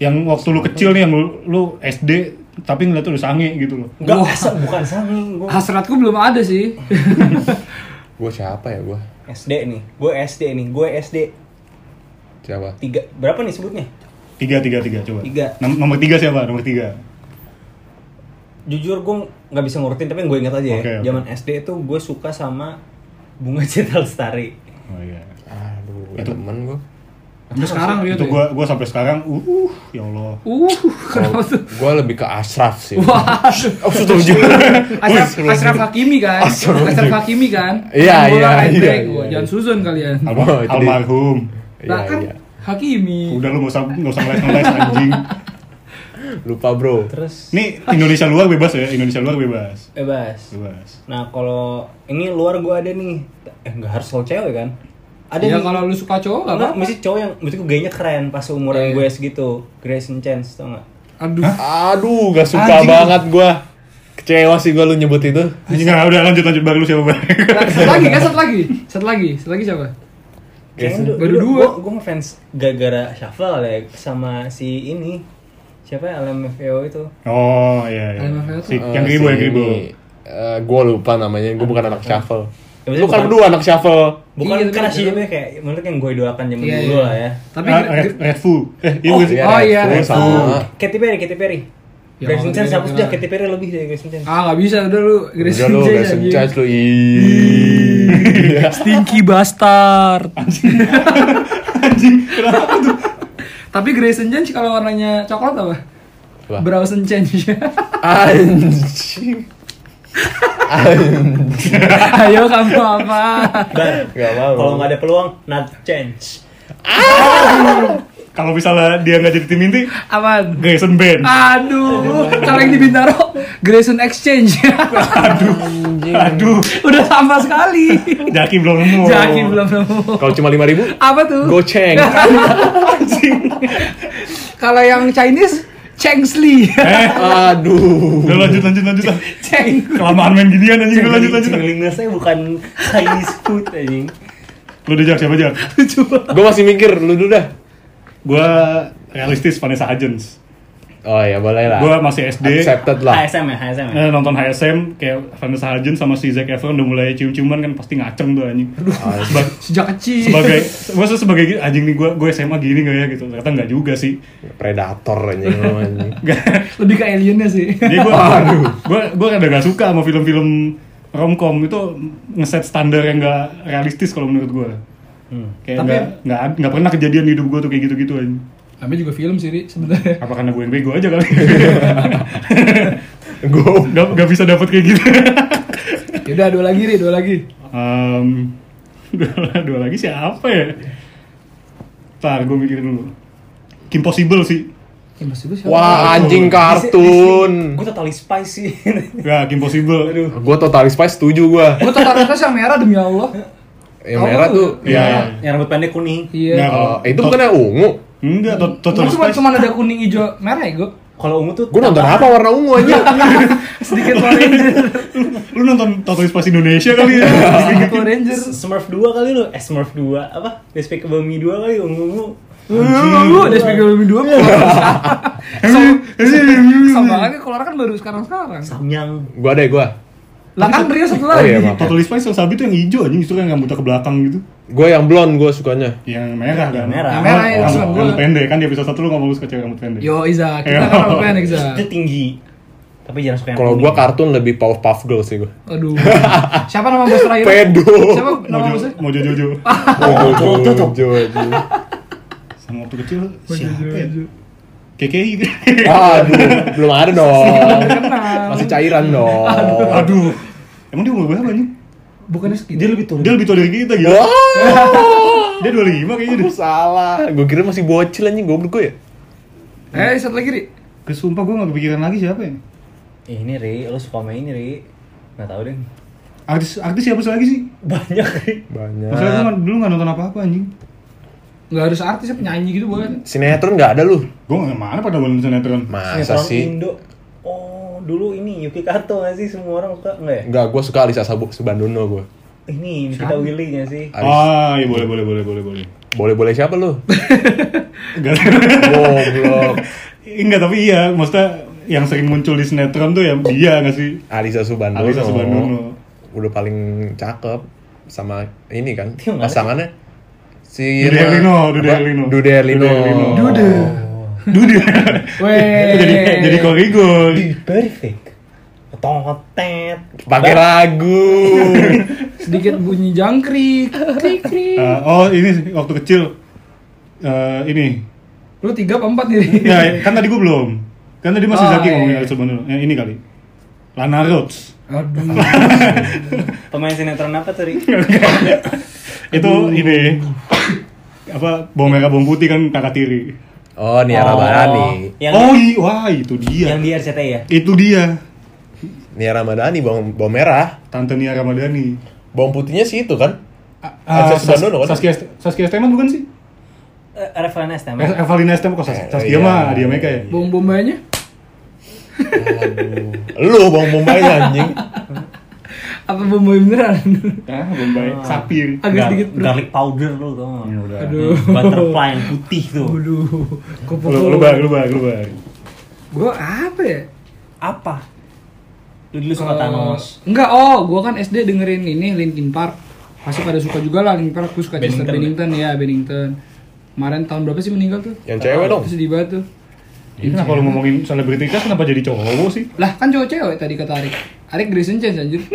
S1: Yang waktu lu kecil nih, yang lu, lu SD tapi ngeliat lu sange gitu loh.
S2: Enggak,
S4: Wah.
S2: asa, bukan sangi Gue
S4: Hasratku belum ada sih.
S3: Gue siapa ya gue?
S2: SD nih Gue SD nih Gue SD
S3: Siapa?
S2: Tiga Berapa nih sebutnya?
S1: Tiga, tiga, tiga, coba.
S2: Tiga.
S1: Nom- nomor tiga siapa? Nomor tiga.
S2: Jujur gue nggak bisa ngurutin Tapi gue inget aja ya
S1: Oke, oke.
S2: Zaman SD itu gue suka sama Bunga Citra Lestari
S1: Oh iya.
S3: Aduh,
S1: Itu.
S3: itu Ya, temen gue.
S4: Sampai sekarang gitu.
S1: Itu
S4: ya?
S1: gua gua sampai sekarang uh, uh ya Allah.
S4: Uh,
S3: Oh.
S4: kenapa tuh?
S3: Gue lebih ke Ashraf sih.
S4: Wah,
S3: Oh, setuju.
S4: Ashraf, Ashraf Hakimi kan? Ashraf Hakimi kan?
S3: Iya,
S4: Main bola,
S3: iya,
S4: main
S3: iya,
S4: break.
S3: iya,
S4: Wah,
S3: iya.
S4: Jangan suzon kalian.
S1: Alma-
S3: Oh, itu dia.
S1: almarhum.
S4: Lah kan
S3: Iya, iya.
S4: Hakimi.
S1: Udah lu nggak usah nggak usah ngeles ngeles anjing.
S3: Lupa bro.
S2: Terus
S1: Nih Indonesia luar bebas ya, Indonesia luar bebas.
S2: Bebas
S1: Bebas.
S2: Nah kalau ini luar gue ada nih, eh nggak harus selalu cewek kan? Ada
S4: Ya
S1: Iya,
S2: nih.
S4: kalau lu suka cowok nggak
S2: Nggak,
S4: apa-apa.
S2: mesti cowok yang mesti gue gayanya keren pas
S4: Iya,
S2: umuran
S4: iya.
S2: gue segitu. Grace and Chance tau nggak?
S4: Aduh.
S3: Aduh, gak suka
S1: Anjing.
S3: banget gue. Kecewa sih gue lu nyebut itu.
S1: Anjing nggak udah lanjut lanjut baru lu siapa bang?
S4: Lah, Satu lagi kan? Satu lagi. Satu lagi. Satu lagi siapa?
S3: Grace
S2: Kayaknya
S4: and- Baru dua.
S2: Gue gue ngefans gara-gara Shuffle ya sama si ini siapa ya LMFAO itu.
S1: Oh iya iya.
S4: Alma Fael tuh.
S1: Si,
S3: Eh,
S1: yang kribo
S3: si
S1: yang kribo.
S3: ini, eh, gue lupa namanya, gue bukan anak shuffle.
S2: Ya,
S3: Lu
S2: bukan.
S3: kan berdua anak shuffle.
S2: Bukan
S4: Iya,
S2: karena
S4: tapi-
S2: sih kayak menurut yang gue idolakan zaman dulu lah ya.
S4: Tapi
S1: Ah, Red, Red Fool. Eh, iya bukan sih?
S4: iya. Oh,
S3: Red Bull
S4: Red
S3: sama
S1: Bull.
S2: Katy Perry, Katy Perry.
S4: Ya,
S2: Grace and Chance
S4: Katy Perry
S2: hapus dah
S4: keren.
S2: Katy Perry lebih dari Grace and Chance.
S4: Ah nggak bisa udah lu Grace
S3: Udah lu,
S4: Jay
S3: Grace and
S4: lagi.
S3: Chance lu Iya.
S4: Stinky bastard.
S1: Anjing kenapa tuh?
S4: Tapi Grace and Chance kalau warnanya coklat apa?
S3: Apa?
S4: Brows and Change.
S3: Anjing.
S4: Ayo kamu apa?
S2: Dan
S3: Gak mau.
S2: kalau nggak ada peluang, not chance.
S1: Kalau misalnya dia nggak jadi tim inti,
S4: Aman.
S1: Grayson Band.
S4: Aduh, kalau yang di Bintaro, Grayson Exchange.
S1: Aduh,
S4: Udah sama sekali.
S1: Jaki belum nemu.
S4: Jaki belum nemu.
S3: Kalau cuma 5000 ribu,
S4: Apa tuh?
S3: Oh. goceng.
S4: Kalau yang Chinese, Chengsli.
S1: Eh,
S3: Aduh.
S1: udah lanjut lanjut lanjut. ah.
S4: Cheng.
S1: Kelamaan main ginian anjing udah lanjut lanjut. ah.
S2: Cinglingness saya bukan Chinese food anjing.
S1: Lu dijak siapa jak?
S3: Gue masih mikir, lu dulu dah.
S1: Gua realistis Vanessa Hudgens.
S3: Oh ya boleh lah.
S1: Gue masih SD.
S3: Accepted lah.
S2: HSM ya, HSM ya.
S1: Eh, nonton HSM kayak Vanessa Hudgens sama si Zac Efron udah mulai cium-ciuman kan pasti ngaceng tuh anjing. Seba-
S4: Sejak kecil.
S1: sebagai gue sebagai gini, anjing nih gue gue SMA gini gak ya gitu ternyata nggak juga sih
S3: Predator anjing lu anjing.
S4: Lebih ke aliennya sih.
S1: jadi gue gue gue rada gak suka sama film-film romcom itu ngeset standar yang gak realistis kalau menurut gue kayak
S4: Tapi-
S1: nggak nggak nggak pernah kejadian di hidup gue tuh kayak gitu-gitu anjing
S4: Namanya juga film sih, Ri, sebenarnya.
S1: apa karena gue yang bego aja kali
S3: Gue
S1: gak, nggak bisa dapet kayak gitu
S4: Yaudah, Ya dua lagi, Ri, dua lagi.
S1: Em, dua, dua lagi siapa ya Ntar gue mikir dulu Kim Possible sih
S4: Impossible Ya, siapa?
S3: Wah anjing kartun.
S2: Gue totally spicy.
S1: Ya, Kim Possible Aduh
S3: Gue totalis spice setuju gue.
S4: Gue tetap atas yang merah demi Allah.
S3: Yang merah tuh.
S1: Iya,
S4: Ya.
S1: iya.
S2: yang rambut pendek kuning.
S1: Nah,
S4: Iya.
S3: Oh, itu
S1: Tot-
S3: bukannya ungu.
S1: Enggak, to- Total
S4: Cuma
S1: Spice
S4: cuma ada kuning, hijau, merah ya, gue.
S2: Kalau ungu tuh
S3: Gue nonton apa warna ungu aja?
S4: Sedikit Power Ranger.
S1: Lu nonton Total Spice Indonesia kali ya?
S4: Sedikit Power Ranger.
S2: Smurf 2 kali lu. Eh Smurf 2 apa? Despicable Me 2 kali ungu-ungu.
S4: Lu udah speak lebih dua Iya, Sama banget keluar kan baru sekarang-sekarang.
S2: Samyang.
S3: Gue deh gue.
S4: Lah kan Rio
S3: Oh
S4: satu lagi.
S3: iya maaf.
S1: Total Spice yang sabi tuh yang hijau anjing justru yang rambutnya ke belakang gitu
S3: Gue yang blonde gue sukanya.
S1: Yang merah kan?
S2: Yang merah.
S4: Yang merah,
S1: Rambut-
S4: ya, yang
S1: rambut,
S4: merah.
S1: rambut pendek kan di episode 1 lu ngomong lu suka cewek rambut pendek
S4: Yo Iza, kita
S1: Yo.
S4: kan apa Iza?
S2: Itu tinggi. Tapi jangan suka yang
S3: Kalau
S2: kuning.
S3: gua kartun lebih Powerpuff Girls sih gua.
S4: Aduh. Siapa nama bos terakhir?
S3: Pedo.
S4: Siapa nama Ah.
S1: Mojo,
S4: bosnya?
S1: Mojo Jojo.
S3: Oh, Jojo.
S1: Sama waktu kecil siapa ya? KKI gitu.
S3: Aduh, belum ada dong. Masih cairan dong.
S1: Aduh. Emang dia umur berapa nih?
S4: Bukannya segitu.
S1: Dia lebih tua. Dia lebih tua dari kita gila. Dia 25 kayaknya deh.
S3: Aduh salah. Gua kira masih bocil anjing goblok gua ya.
S4: Eh, satu lagi, Ri.
S1: Kesumpah gue gak kepikiran lagi siapa ya?
S2: Ih, Eh, ini Ri, lu suka sama ini Ri. Gak tau deh.
S1: Artis artis siapa lagi sih?
S2: Banyak Ri.
S1: Maksudnya gue
S3: Banyak.
S1: dulu gak nonton apa-apa anjing.
S4: Enggak harus artis, ya, penyanyi gitu boleh.
S3: Sinetron nggak ada lu.
S1: Gue gak mana pada nonton sinetron.
S3: Masa
S2: Sinetron
S3: sih?
S2: Indo. Oh, dulu ini Yuki Kato gak sih semua orang suka enggak ya?
S3: Enggak, gua suka Alisa Sabu- Subandono gua.
S2: Ini Nikita Willy nya sih.
S3: Alis-
S1: Ah, iya boleh boleh boleh boleh boleh.
S3: Boleh-boleh siapa lu?
S1: Enggak.
S3: Goblok.
S1: Enggak tapi iya, maksudnya yang sering muncul di sinetron tuh ya dia nggak sih?
S3: Alisa Subandono.
S1: Alisa Subandono.
S3: Udah paling cakep sama ini kan
S2: Itu yang mana
S3: pasangannya si
S1: Dude Erlino,
S3: Irma- Iya. apa?
S1: Dude Erlino.
S3: Dude
S1: Dude
S3: Erlino.
S1: Erlino.
S4: Dude.
S1: Dude.
S4: Weh.
S1: jadi jadi korigor.
S2: Di perfect. Totet.
S3: Pakai lagu.
S4: Sedikit bunyi jangkrik. Krik krik.
S1: Eh, oh ini sih, waktu kecil eh ini
S4: Lu tiga apa empat nih? Ri?
S1: ya kan tadi gue belum kan tadi masih
S4: Oh,
S1: Zaki
S4: iya,
S1: ngomongin
S4: iya.
S1: Alisa Subandono Eh, ini kali Lana Rhodes
S4: Aduh.
S2: Pemain sinetron apa tuh Ri?
S1: itu ini apa bawang merah bawang putih kan kakak tiri
S3: Oh,
S2: Oh,
S3: Niara Madani.
S2: Yang,
S1: oh iya wah itu dia
S2: yang di RCTI ya?
S1: itu dia
S3: Niara Madani bawang, bawang merah.
S1: tante Nia Ramadhani
S3: Bawang putihnya sih itu kan?
S1: Ah,
S3: Alisa Subandono kan?
S1: Saskia Saskia Steman bukan sih
S2: Eh, Revalina STM.
S1: Eh, Evalina Stem kok Sas-
S3: Eh,
S1: Saskia
S3: iya.
S1: mah dia mereka ya
S4: Bom bombanya.
S3: Lu bawang bombaynya anjing.
S4: Apa bombay beneran?
S1: ah Bombay Sapir
S4: Agak sedikit. bro.
S2: garlic powder lu tau gak?
S1: Ya udah.
S4: Aduh.
S2: Butterfly yang putih tuh.
S4: Aduh. Kupu
S1: lu lu bang lu bang lu bang
S4: Gua apa ya?
S2: Apa? Lu dulu suka
S4: Eh,
S2: Thanos.
S4: Enggak, oh, gua kan SD dengerin ini Linkin Park. Pasti pada suka juga lah Linkin Park. Gua suka Chester Bennington ya, Bennington. Kemarin tahun berapa sih meninggal tuh?
S3: Yang cewek dong.
S4: Itu sedih banget tuh.
S1: ini kenapa lu ngomongin selebriti kan kenapa jadi cowok sih
S4: Lah, kan cowok cewek tadi kata Arik. Arik Grayson Chance anjir.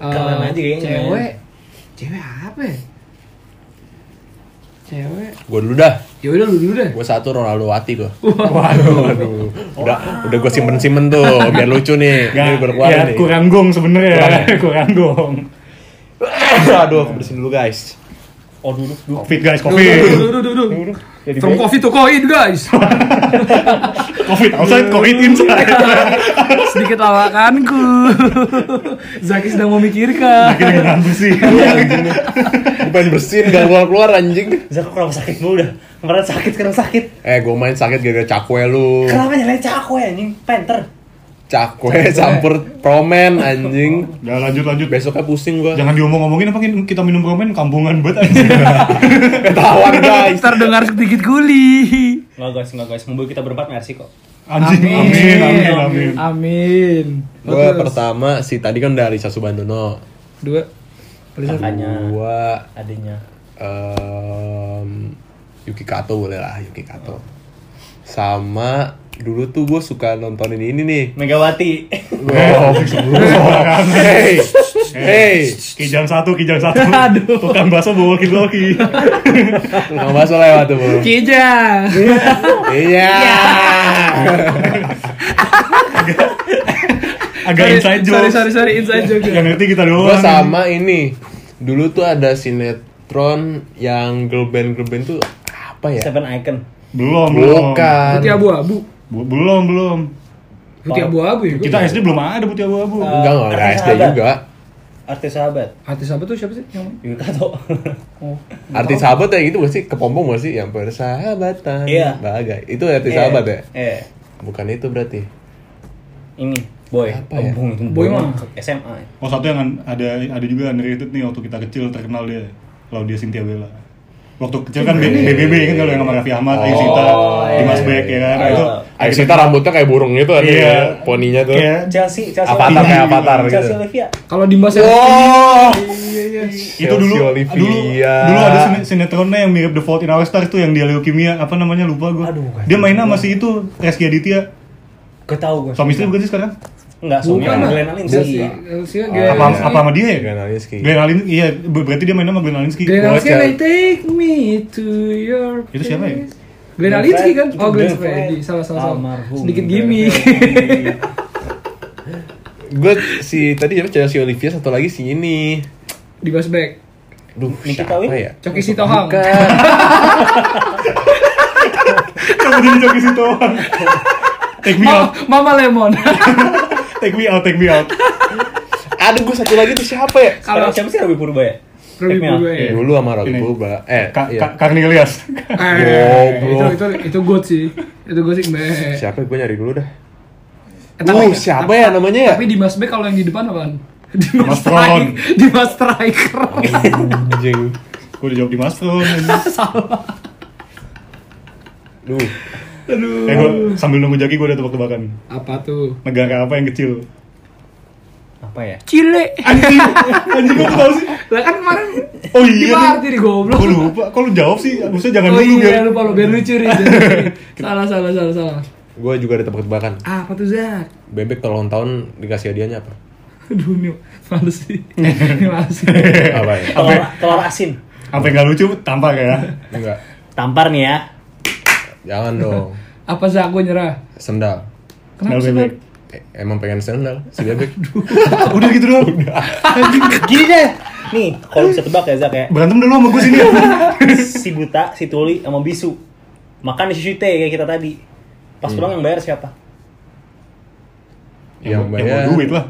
S2: Keren aja
S4: Eh,
S1: ya.
S2: kayaknya.
S4: Cewek. Cewek apa ya? Cewek.
S3: Gua dulu dah.
S4: Ya udah lu dulu deh.
S3: Gua satu Ronaldo Wati gua. Waduh, waduh. Udah udah gua simpen-simpen tuh biar lucu nih.
S1: Gak,
S3: Ini gua
S1: ya,
S3: keluarin Iya, nih.
S1: kurang gong sebenarnya, kurang gong.
S3: Aduh, aku bersihin dulu guys.
S2: Oh dulu dulu.
S1: Covid guys,
S4: Duh, duh,
S1: covid,
S4: duh, duh, duh, duh. From coffee to coin, guys.
S1: covid outside, covid inside.
S4: Sedikit lawakanku. Zaki sedang memikirkan.
S1: Akhirnya nggak ngampus sih.
S3: Gue pengen bersihin gak keluar-keluar anjing
S2: Zak aku kenapa sakit mulu dah? Kemarin sakit, sekarang sakit.
S3: Eh gue main sakit gara-gara cakwe lu
S2: Kenapa nyalain cakwe anjing? Penter.
S3: Cakwe campur promen anjing
S1: Udah Ya, lanjut lanjut.
S3: Besoknya pusing gue
S1: Jangan diomong-omongin apa kita minum komen kampungan banget aja.
S3: Ketahuan guys
S4: Terdengar sedikit guli.
S2: Enggak guys, enggak guys. Membuat kita berempat mercy kok.
S1: Anjing, amin, amin, amin.
S4: Amin.
S3: Gue
S4: Terus,
S3: pertama si tadi kan dari Sasu Bandono
S4: Dua. Alisa.
S2: Kakaknya,
S3: Gue
S2: adiknya.
S3: Yuki Kato boleh lah Yuki Kato Sama dulu tuh gue suka nontonin ini nih
S2: Megawati.
S3: Hey Hey
S1: Kijang satu, kijang satu.
S4: Aduh.
S1: Tukang bakso bawa walkie-talkie.
S3: Nggak masuk lewat tuh bro
S4: Kijang.
S3: Iya
S1: Agak
S4: Sorry,
S1: inside joke.
S4: Sorry, sorry, sorry, inside joke. ya.
S1: Yang ngerti kita doang.
S3: Gue sama ini. Dulu tuh ada sinetron yang girl band girl band tuh apa ya?
S2: Seven Icon.
S1: Belum, belum.
S3: Bukan.
S4: Putih abu-abu.
S1: Bu- Belum, belum.
S4: Putih abu-abu ya.
S1: Kita SD belum ada putih abu-abu.
S3: Enggak enggak ada
S2: Artis
S3: SD
S2: sahabat.
S3: juga.
S2: Artis sahabat.
S4: Artis apa tuh siapa sih? Yang
S2: Yuki Kato.
S4: oh.
S3: Artis sahabat ya gitu gak sih? Kepompong gak sih? Yang persahabatan
S2: Iya.
S3: Bagai Itu artis sahabat ya?
S2: Eh,
S3: Bukan itu berarti
S2: ini boy.
S3: Apa ya?
S2: Kembung, kembung.
S4: Boy mah.
S2: SMA.
S1: Oh satu yang an- ada ada juga underrated nih waktu kita kecil terkenal dia Claudia Cynthia Bella. Waktu kecil kan B- BBB kan kalau yang sama Raffi Ahmad,
S3: Oh,
S1: Ayu Sita,
S3: iya,
S1: Dimas Beck ya kan.
S2: Ayu-
S1: Itu
S3: Ayo Sita rambutnya kayak burung gitu ada
S1: Iya.
S3: ya, poninya tuh
S1: kayak
S2: Chelsea, Chelsea.
S3: Avatar
S2: Olivia.
S3: kayak avatar gitu
S2: Chelsea Olivia.
S4: Kalau Dimas yang
S3: Oh
S4: Iya, iya.
S1: itu dulu
S3: Chelsea Olivia.
S1: dulu dulu ada sine- sinetronnya yang mirip The Fault in Our Stars tuh yang dia leukemia apa namanya lupa gue.
S2: Aduh, gak
S1: Dia mainnya masih itu Reski Aditya.
S2: Gak tau gue.
S1: Suami istri bukan sih sekarang?
S2: Enggak, suami
S4: Bukan
S2: sama
S4: lah.
S2: Glenn Alinsky.
S4: Sih, sih,
S3: Iya,
S1: apa
S3: iya.
S1: apa sama dia ya?
S3: Glenn Alinsky.
S1: Glenn Alin- iya ber- berarti dia main sama Glenn Alinsky.
S4: Glenn
S3: Bocah.
S4: Alinsky they take me to your
S1: Itu siapa ya?
S4: place. Glenn Alinsky kan?
S2: Itu
S4: Oh Glenn
S2: Glenn
S4: Freddy,
S2: Fredly.
S4: salah salah salah
S2: Almarhum
S4: Sedikit
S2: Glenn
S4: gimmick
S2: Fredly.
S3: Gue si tadi siapa cewek si Olivia satu lagi si ini.
S4: Di flashback
S3: Duh,
S2: Nikita
S3: siapa
S2: Willy?
S3: ya?
S4: Coki Sitohang
S3: Bukan.
S1: Kamu jadi joki situ. Take me out,
S4: Ma- Mama Lemon
S1: take me out, take me out.
S3: Ada gue satu lagi tuh siapa ya?
S2: Sekarang siapa sih Robi Purba ya?
S4: Ruby
S2: Take me out.
S4: Purba ya?
S1: Iya.
S3: Dulu sama Rocky
S1: Ini.
S3: Purba. Eh,
S1: Ka
S3: iya.
S1: Ka Karnelias.
S4: Eh, itu
S3: Goblok.
S4: itu itu good sih itu good sih meh
S3: Siapa? Gue nyari dulu dah.
S4: Eh,
S3: Uh,
S4: tapi-
S3: siapa ya namanya ya?
S4: tapi di Mas Beck kalau yang di depan apaan di
S1: Mas
S4: Mas
S1: Tron.
S4: Strike di Mas Striker
S3: Anjing.
S1: Gue udah jawab di Mastron.
S3: Duh,
S1: eh gue sambil nunggu jaki gue udah tebak-tebakan.
S4: apa tuh
S1: Negara apa yang kecil?
S2: Apa ya?
S4: Chile
S1: Anjing, anjing gue tahu sih.
S4: lah kan kemarin
S1: Oh
S4: di
S1: iya.
S4: Marti di goblok
S1: Gue lupa. Kok lu jawab sih? Maksudnya jangan
S4: oh
S1: dulu
S4: iya
S1: biar
S4: lupa lo biar lucu Riz. Jangan lucu. salah salah salah salah
S3: gue juga ada tebak-tebakan.
S4: ah, apa tuh Zak
S3: Bebek tolong tahun dikasih hadiahnya apa?
S4: aduh ini males sih ini males sih
S3: Apa ya?
S1: Apa ya?
S2: Telur, telur asin.
S1: sampai nggak lucu tampak ya.
S3: Enggak.
S2: Tampar nih ya.
S3: Jangan dong.
S4: apa Zak gue nyerah
S3: Sendal.
S1: Kenal
S4: kenapa sih
S1: bebek.
S4: Bang?
S3: Eh, emang pengen sendal si Bebek?
S1: Udah gitu doang.
S2: Gini deh. Nih, kalau bisa tebak ya Zak ya.
S1: Berantem dulu sama gue sini.
S2: Si buta, si tuli, sama bisu. Makan di sushi teh kayak kita tadi.
S4: Iya.
S2: Pas pulang yang bayar siapa?
S1: Ya,
S3: Yang
S1: Yang
S3: bayar. Iya.
S1: bawa duit lah.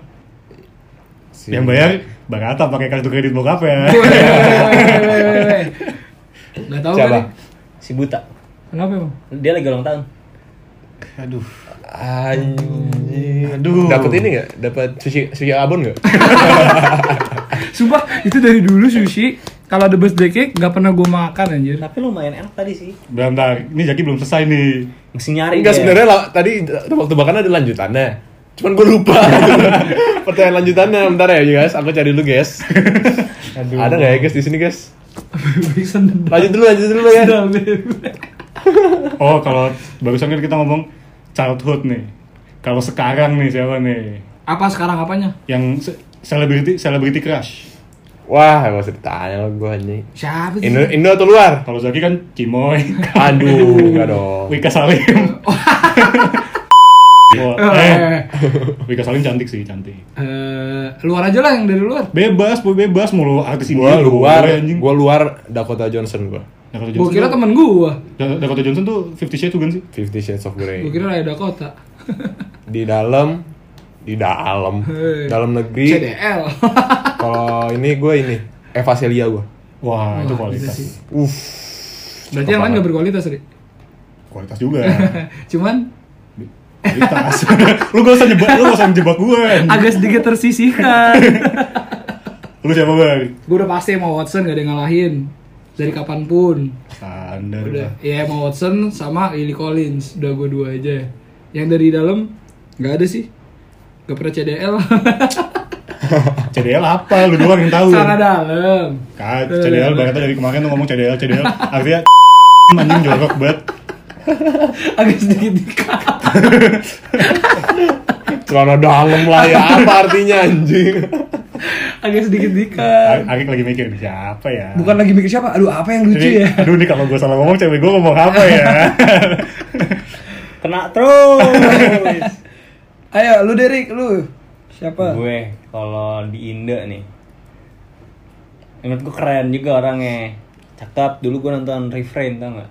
S3: si-
S1: Yang bayar Barata pakai kartu kredit bokap ya.
S4: Gak tau
S3: Siapa?
S4: kali
S2: Si buta.
S4: Kenapa emang?
S2: Dia lagi ulang tahun.
S1: Aduh.
S3: Anjing.
S1: Aduh.
S3: Dapat ini enggak? Dapat sushi sushi abon enggak?
S4: Sumpah itu dari dulu sushi kalau ada birthday cake gak pernah gue makan anjir.
S2: Tapi lumayan enak tadi sih.
S1: Bentar, ini Jaki belum selesai nih.
S2: Mesti nyari.
S3: Enggak
S2: dia.
S3: sebenarnya lah, tadi tebak-tebakan ada lanjutannya. Cuman gue lupa. Pertanyaan lanjutannya bentar ya guys, aku cari dulu guys.
S2: Aduh.
S3: Ada nggak ya guys di sini guys?
S4: Bisa nendang.
S3: Lanjut dulu, lanjut dulu ya.
S1: Oh, kalau barusan kan kita ngomong childhood nih. Kalau sekarang nih siapa nih?
S4: Apa sekarang apanya?
S1: Yang se- celebrity celebrity crush.
S3: Wah, gak usah ditanya lo gue anjing.
S4: Siapa sih?
S3: Indo, Indo atau luar?
S1: Kalau Zaki kan Cimoy,
S3: Aduh, enggak dong.
S1: Wika Salim.
S3: Oh,
S1: Wah,
S3: iya,
S1: eh,
S4: Eh,
S1: Wika Salim cantik sih, cantik.
S4: eh, luar aja lah yang dari luar.
S1: Bebas, boy bebas mulu artis ini.
S3: Gue luar,
S1: anjing.
S3: gue luar Dakota Johnson gue.
S1: Dakota
S4: Gue
S1: Johnson.
S4: kira
S1: tuh-
S4: temen gue.
S1: Da- Dakota Johnson tuh 50 Shades bukan sih?
S3: Fifty Shades of Grey.
S4: Gue kira Raya Dakota.
S3: Di dalam, di dalam,
S4: Hei.
S3: dalam negeri.
S4: CDL.
S3: Kalau ini gue ini Eva Celia gue.
S1: Wah, Nah, itu
S4: Wah,
S1: kualitas.
S4: itu sih.
S3: Uff,
S4: Berarti yang lain gak berkualitas, Ri.
S1: Kualitas juga.
S4: Cuman
S1: Kualitas. lu gak usah jebak, lu gak usah jebak gue.
S4: agak sedikit tersisihkan.
S1: Lu siapa, Bang?
S4: gue udah pasti mau Watson gak ada yang ngalahin. Dari kapanpun.
S1: Standar
S4: Udah,
S1: lah.
S4: ya Emma Watson sama Lily Collins. Udah gue dua aja. Yang dari dalam nggak ada sih. Gak pernah CDL.
S1: CDL apa? Lu doang yang tahu.
S4: Sana dalam.
S1: Kak, CDL banget dari kemarin tuh ngomong CDL, CDL. Artinya anjing jorok banget.
S4: Agak sedikit dikat.
S3: celana dalam lah ya. Apa artinya anjing?
S4: Agak sedikit dikat.
S1: A- Arik lagi mikir siapa ya?
S4: Bukan lagi mikir siapa. Aduh, apa yang
S1: Jadi,
S4: lucu ya?
S1: Aduh nih kalau gue salah ngomong cewek gue ngomong apa ya?
S2: Kena terus.
S4: Ayo, lu Derek, lu. Siapa?
S2: gue kalau di Indo nih menurut gue keren juga orangnya cakep dulu gue nonton refrain tau gak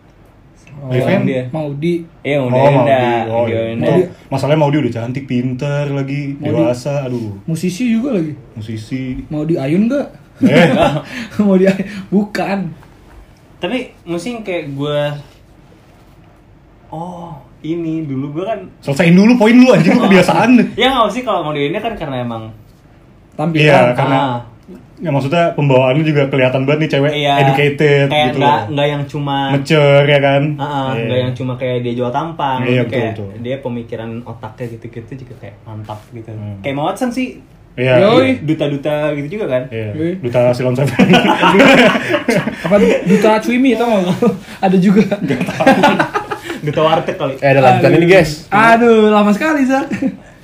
S1: Refrain?
S2: dia
S4: Mau di
S2: iya udah
S1: Oh,
S2: Inda
S1: Maudi. Oh, iya.
S2: Dia Inda.
S1: Oh, masalahnya Maudi udah cantik, pinter lagi, dewasa, aduh,
S4: musisi juga lagi.
S1: musisi.
S4: Mau di Ayun nggak?
S1: Eh,
S4: mau di Ayun? Bukan.
S2: tapi mungkin kayak gue oh ini dulu gue kan
S1: selesaiin dulu poin lu anjing lu kebiasaan. Iya,
S2: ya nggak sih kalau mau di Inda kan karena emang
S4: Tampilan.
S1: Iya,
S2: ah,
S1: karena ya maksudnya pembawaan lu juga kelihatan banget nih cewek
S2: iya,
S1: educated
S2: kayak
S1: gitu.
S2: nggak
S1: loh.
S2: nggak yang cuma
S1: Mature ya kan?
S2: Ah, ah,
S1: Iya.
S2: nggak yang cuma kayak dia jual tampang,
S1: Iya,
S2: tapi
S1: betul,
S2: kayak
S1: betul.
S2: dia pemikiran otaknya gitu-gitu juga kayak mantap gitu.
S1: Hmm.
S2: Kayak Emma Watson sih
S1: Iya.
S4: Yoi.
S2: duta-duta gitu juga kan.
S1: Iya.
S4: Yoi.
S1: Duta Silon Seven.
S4: Apa duta cuimi tau nggak? Ada juga.
S2: Duta warteg kali.
S3: Eh ada lanjutan ini guys.
S4: Aduh, lama sekali, Zak.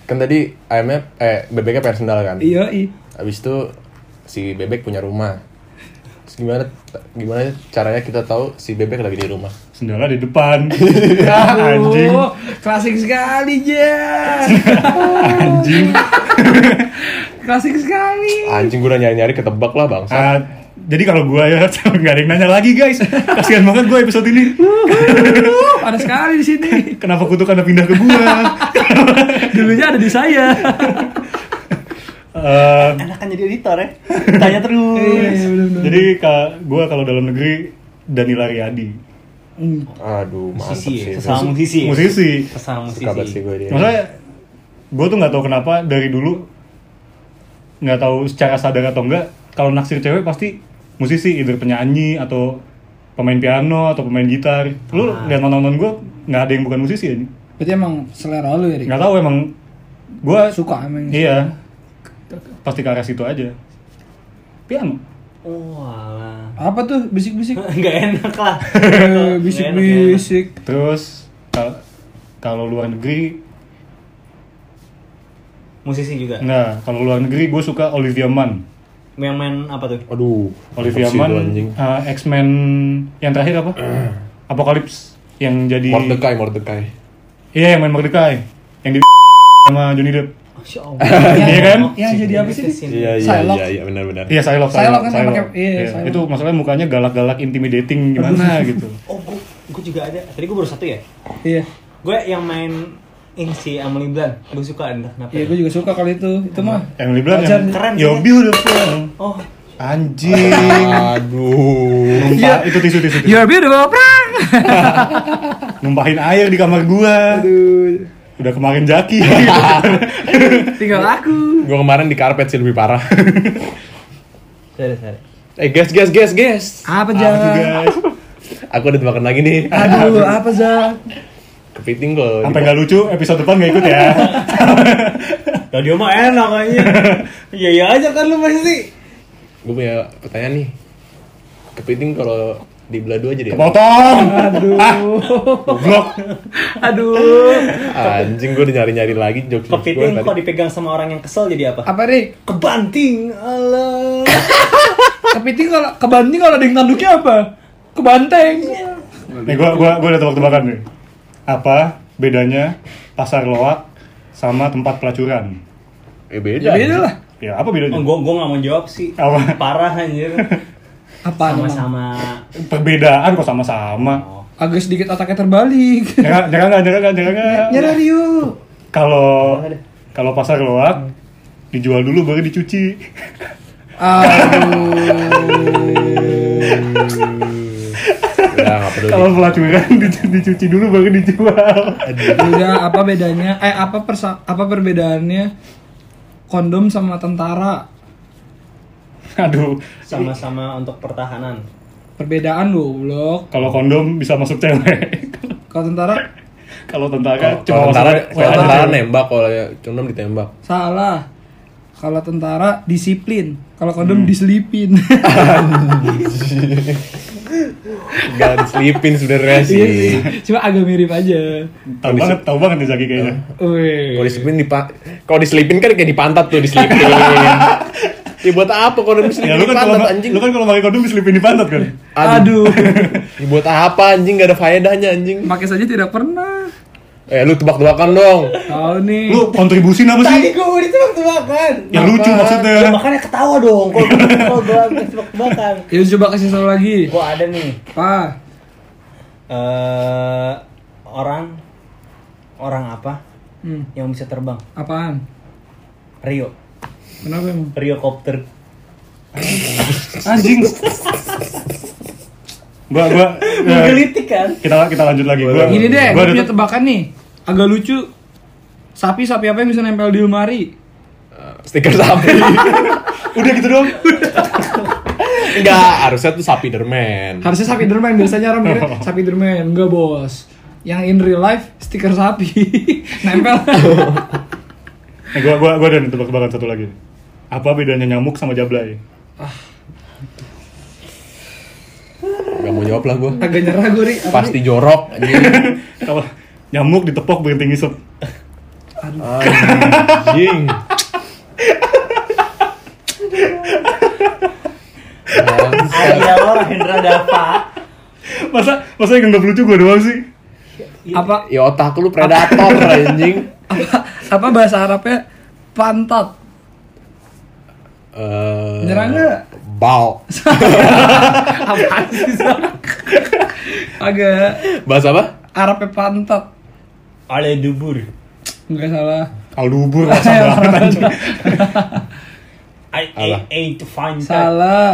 S3: Kan tadi ayamnya eh bebeknya pakai sendal kan.
S4: Iya, i.
S3: Habis itu si bebek punya rumah. Terus gimana gimana caranya kita tahu si bebek lagi di rumah?
S1: Sendalnya di depan. anjing.
S4: Aduh, Oh, klasik sekali, Jan.
S1: Anjing.
S4: Klasik sekali.
S3: Anjing gue udah nyari-nyari ketebak lah bangsa.
S1: Ah, jadi kalau gua ya nggak ada yang nanya lagi guys. Kasihan banget gua episode ini.
S4: Uh, ada sekali di sini.
S1: Kenapa kutukan pindah ke gua?
S4: Dulunya ada di saya.
S1: Eh,
S2: Enak kan jadi editor ya. Tanya terus.
S1: jadi ka, gua kalau dalam negeri Danila Riyadi.
S3: Aduh, mantap
S2: Musisi ya,
S3: sih.
S2: sesama musisi. ya?
S1: Musisi.
S2: Sesama
S3: Suka banget
S2: musisi.
S3: sih gue dia.
S1: Maksudnya gue tuh nggak tahu kenapa dari dulu nggak tahu secara sadar atau enggak kalau naksir cewek pasti musisi either penyanyi atau pemain piano atau pemain gitar lu lihat nonton gue nggak ada yang bukan musisi ya
S4: Berarti emang selera lu ya, Rik?
S1: nggak tahu emang gue
S4: Suka emang.
S1: iya pasti ke arah situ aja piano
S2: Wah.
S4: Apa tuh bisik-bisik?
S2: Enggak Oh, enak lah.
S4: Eh, Bisik-bisik.
S1: terus kal- kalau luar negeri
S2: Musisi juga.
S1: nah kalau luar negeri gue suka Olivia Munn
S2: Yang main apa tuh?
S3: Aduh,
S1: Olivia
S3: mantap sih
S1: Munn,
S3: itu anjing.
S1: uh, X-Men yang terakhir apa? Apocalypse yang jadi
S3: Mordecai, Mordecai.
S1: Iya, yang main Mordecai. Yang di sama Johnny Depp.
S2: Masya Allah. gitu
S1: Iya kan?
S4: Ya jadi apa sih? Dik?
S3: Iya, iya,
S4: Silok.
S3: iya, iya, benar-benar.
S1: Iya, Psylocke.
S4: Psylocke kan yang pakai- iya,
S1: Iya,
S4: Psylocke.
S1: Itu maksudnya mukanya galak-galak intimidating gimana gitu.
S2: Oh, gue, gue juga ada. Tadi gue baru satu ya.
S4: Iya.
S2: Gue yang main ini si Emily Blunt. Gue suka entah kenapa.
S4: Iya, gue juga suka kali itu. Itu mah.
S1: Emily Blunt
S4: Wajar,
S1: yang
S2: keren sih.
S1: You're beautiful.
S2: Oh,
S1: Anjing.
S3: Aduh.
S4: Iya.
S1: Numpah, itu tisu tisu tisu.
S4: beautiful, Prang.
S1: Numpahin air di kamar gua.
S4: Aduh,
S1: Udah kemarin jaki.
S4: tinggal aku.
S3: Gue kemarin di karpet sih lebih parah.
S2: sorry, sorry.
S3: eh, guys, guys, guys, guys.
S1: Apa
S4: Apa
S1: tuh,
S4: Zak?
S1: guys?
S3: Aku ada tebakan lagi nih.
S4: Aduh, apa
S3: Ah,
S4: Zak?
S3: Kepiting kok.
S1: Sampai nggak lucu, episode depan nggak ikut ya.
S2: Ya dia mah enak kayaknya. Iya iya aja kan lu pasti.
S3: Gue punya pertanyaan nih. Kepiting kalau dibelah dua jadi apa?
S1: Kepotong.
S4: Aduh.
S1: Goblok.
S4: Aduh.
S3: Anjing gue nyari-nyari lagi jokes jokes gue
S2: Kepiting kok
S3: tadi.
S2: dipegang sama orang yang kesel jadi apa?
S4: Apa Rik?
S2: Kebanting. Allah.
S4: Kepiting kalau kebanting kalau ada yang tanduknya apa? Kebanteng.
S1: Nih gua gua gua udah tebak-tebakan nih. Apa bedanya pasar loak sama tempat pelacuran?
S3: Eh beda.
S4: Ya beda lah.
S1: Ya apa bedanya?
S2: Oh, gue gue nggak mau jawab sih.
S1: Apa?
S2: Parah anjir.
S4: Apa?
S2: Sama-sama.
S1: Perbedaan kok
S3: Oh.
S1: sama-sama.
S4: Agak sedikit otaknya terbalik.
S1: Jangan jangan nggak, jangan nggak, jangan nggak.
S4: Nyerah Ryu.
S1: Kalau kalau pasar
S3: Hmm.
S1: loak dijual dulu baru dicuci.
S4: Aduh.
S3: Udah nggak perlu.
S1: Kalau pelacuran dicu- dicuci dulu baru dijual.
S4: Udah apa bedanya? Eh apa persa apa perbedaannya kondom sama tentara?
S1: Aduh.
S2: Sama-sama untuk pertahanan.
S4: Perbedaan goblok.
S1: Kalau kondom bisa masuk cewek.
S4: Kalau tentara
S1: Kalau tentara
S3: Kalau
S1: cuma
S3: tentara,
S1: masuk
S3: kalau
S1: WA
S3: tentara
S1: cewek.
S3: nembak, kalau condom ditembak.
S4: salah. Kalau tentara disiplin, kalau kondom diselipin.
S3: Gak diselipin sebenarnya
S4: Iya
S3: sih.
S4: sih. Cuma agak mirip aja.
S1: Tahu banget, tahu banget nih Zaki
S3: Iya.
S1: kayaknya.
S4: Wih.
S3: Kalau diselipin di kalau diselipin kan kayak di pantat tuh diselipin. ya buat apa kondom
S1: Ya
S3: diselipin
S1: lu
S3: di
S1: kan kalau
S3: pantat anjing?
S1: lu kan kalau pakai kondom diselipin di pantat kan.
S4: Aduh.
S3: Ya buat apa anjing gak ada faedahnya anjing?
S4: Pakai saja tidak pernah.
S3: Eh lu tebak-tebakan dong.
S4: Tahu nih.
S1: Lu kontribusi apa sih?
S2: Tadi gue udah tebak-tebakan.
S1: Ya lucu
S2: Ya,
S1: maksudnya.
S2: makanya ketawa dong. Kalau kalau gue habis tebak-tebakan.
S4: Ya coba kasih satu lagi.
S2: Gue ada nih.
S4: Apa?
S2: eh orang orang apa
S4: Hmm.
S2: yang bisa terbang?
S4: Apaan?
S2: Rio.
S4: Kenapa emang?
S2: Rio Copter.
S1: Anjing. gua gua ya,
S2: Menggelitik kan?
S1: kita kita lanjut lagi. Gua
S4: Gini deh,
S1: gua
S4: gue
S1: ada
S4: punya tebakan nih. Agak lucu. Sapi-sapi apa yang bisa nempel di lemari?
S3: Stiker sapi.
S1: udah gitu dong.
S3: Enggak, harusnya tuh sapi derman.
S4: Harusnya sapi derman, biasanya orang mikir sapi derman. Enggak, Bos. Yang in real life stiker sapi nempel.
S1: Nah, gua gua gua ada nih tebak-tebakan satu lagi. Apa bedanya nyamuk sama jablay?
S3: Gak mau jawab lah gue.
S4: Agak nyerah gue, Ri. Apa, Ri?
S3: Pasti jorok. Anjing.
S1: Kalau nyamuk ditepok berhenti ngisep.
S3: Anjing.
S5: Ada lo Rahendra Dava.
S1: Masa masa yang nggak lucu gue doang sih?
S4: Apa
S3: Ya otak lu predator anjing.
S4: apa apa bahasa Arabnya pantat.
S3: Eh,
S4: Nyerang nggak?
S3: Bal.
S4: Apa sih? Zak? Agak
S3: Bahasa apa?
S4: Arabnya pantat.
S5: Ale dubur.
S4: Enggak salah.
S1: Aldubur rasa banget anjing.
S5: I
S3: Alah.
S5: ate fanta.
S4: Salah.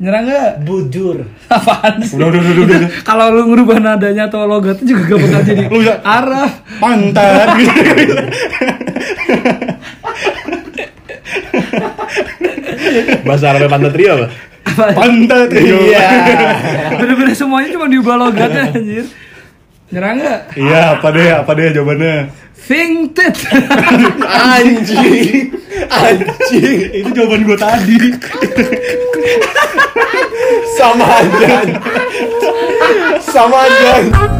S4: Nyerang nggak?
S5: Budur.
S4: Apaan sih?
S1: Udah udah udah udah. udah.
S4: Kalau lu ngerubah nadanya atau logatnya juga gak bakal jadi
S1: Lu ya. bisa-
S4: Arab.
S1: Pantat.
S3: Bahasa Arab pantat Rio apa?
S4: Apa?
S1: Pantat. Iya.
S4: Bener-bener semuanya cuma diubah logatnya anjir. Nyerang nggak?
S1: Iya, apa deh? Apa deh jawabannya?
S4: Think tit.
S3: Anjing. Anjing.
S1: Itu jawaban gue tadi.
S3: Sama aja. Sama aja.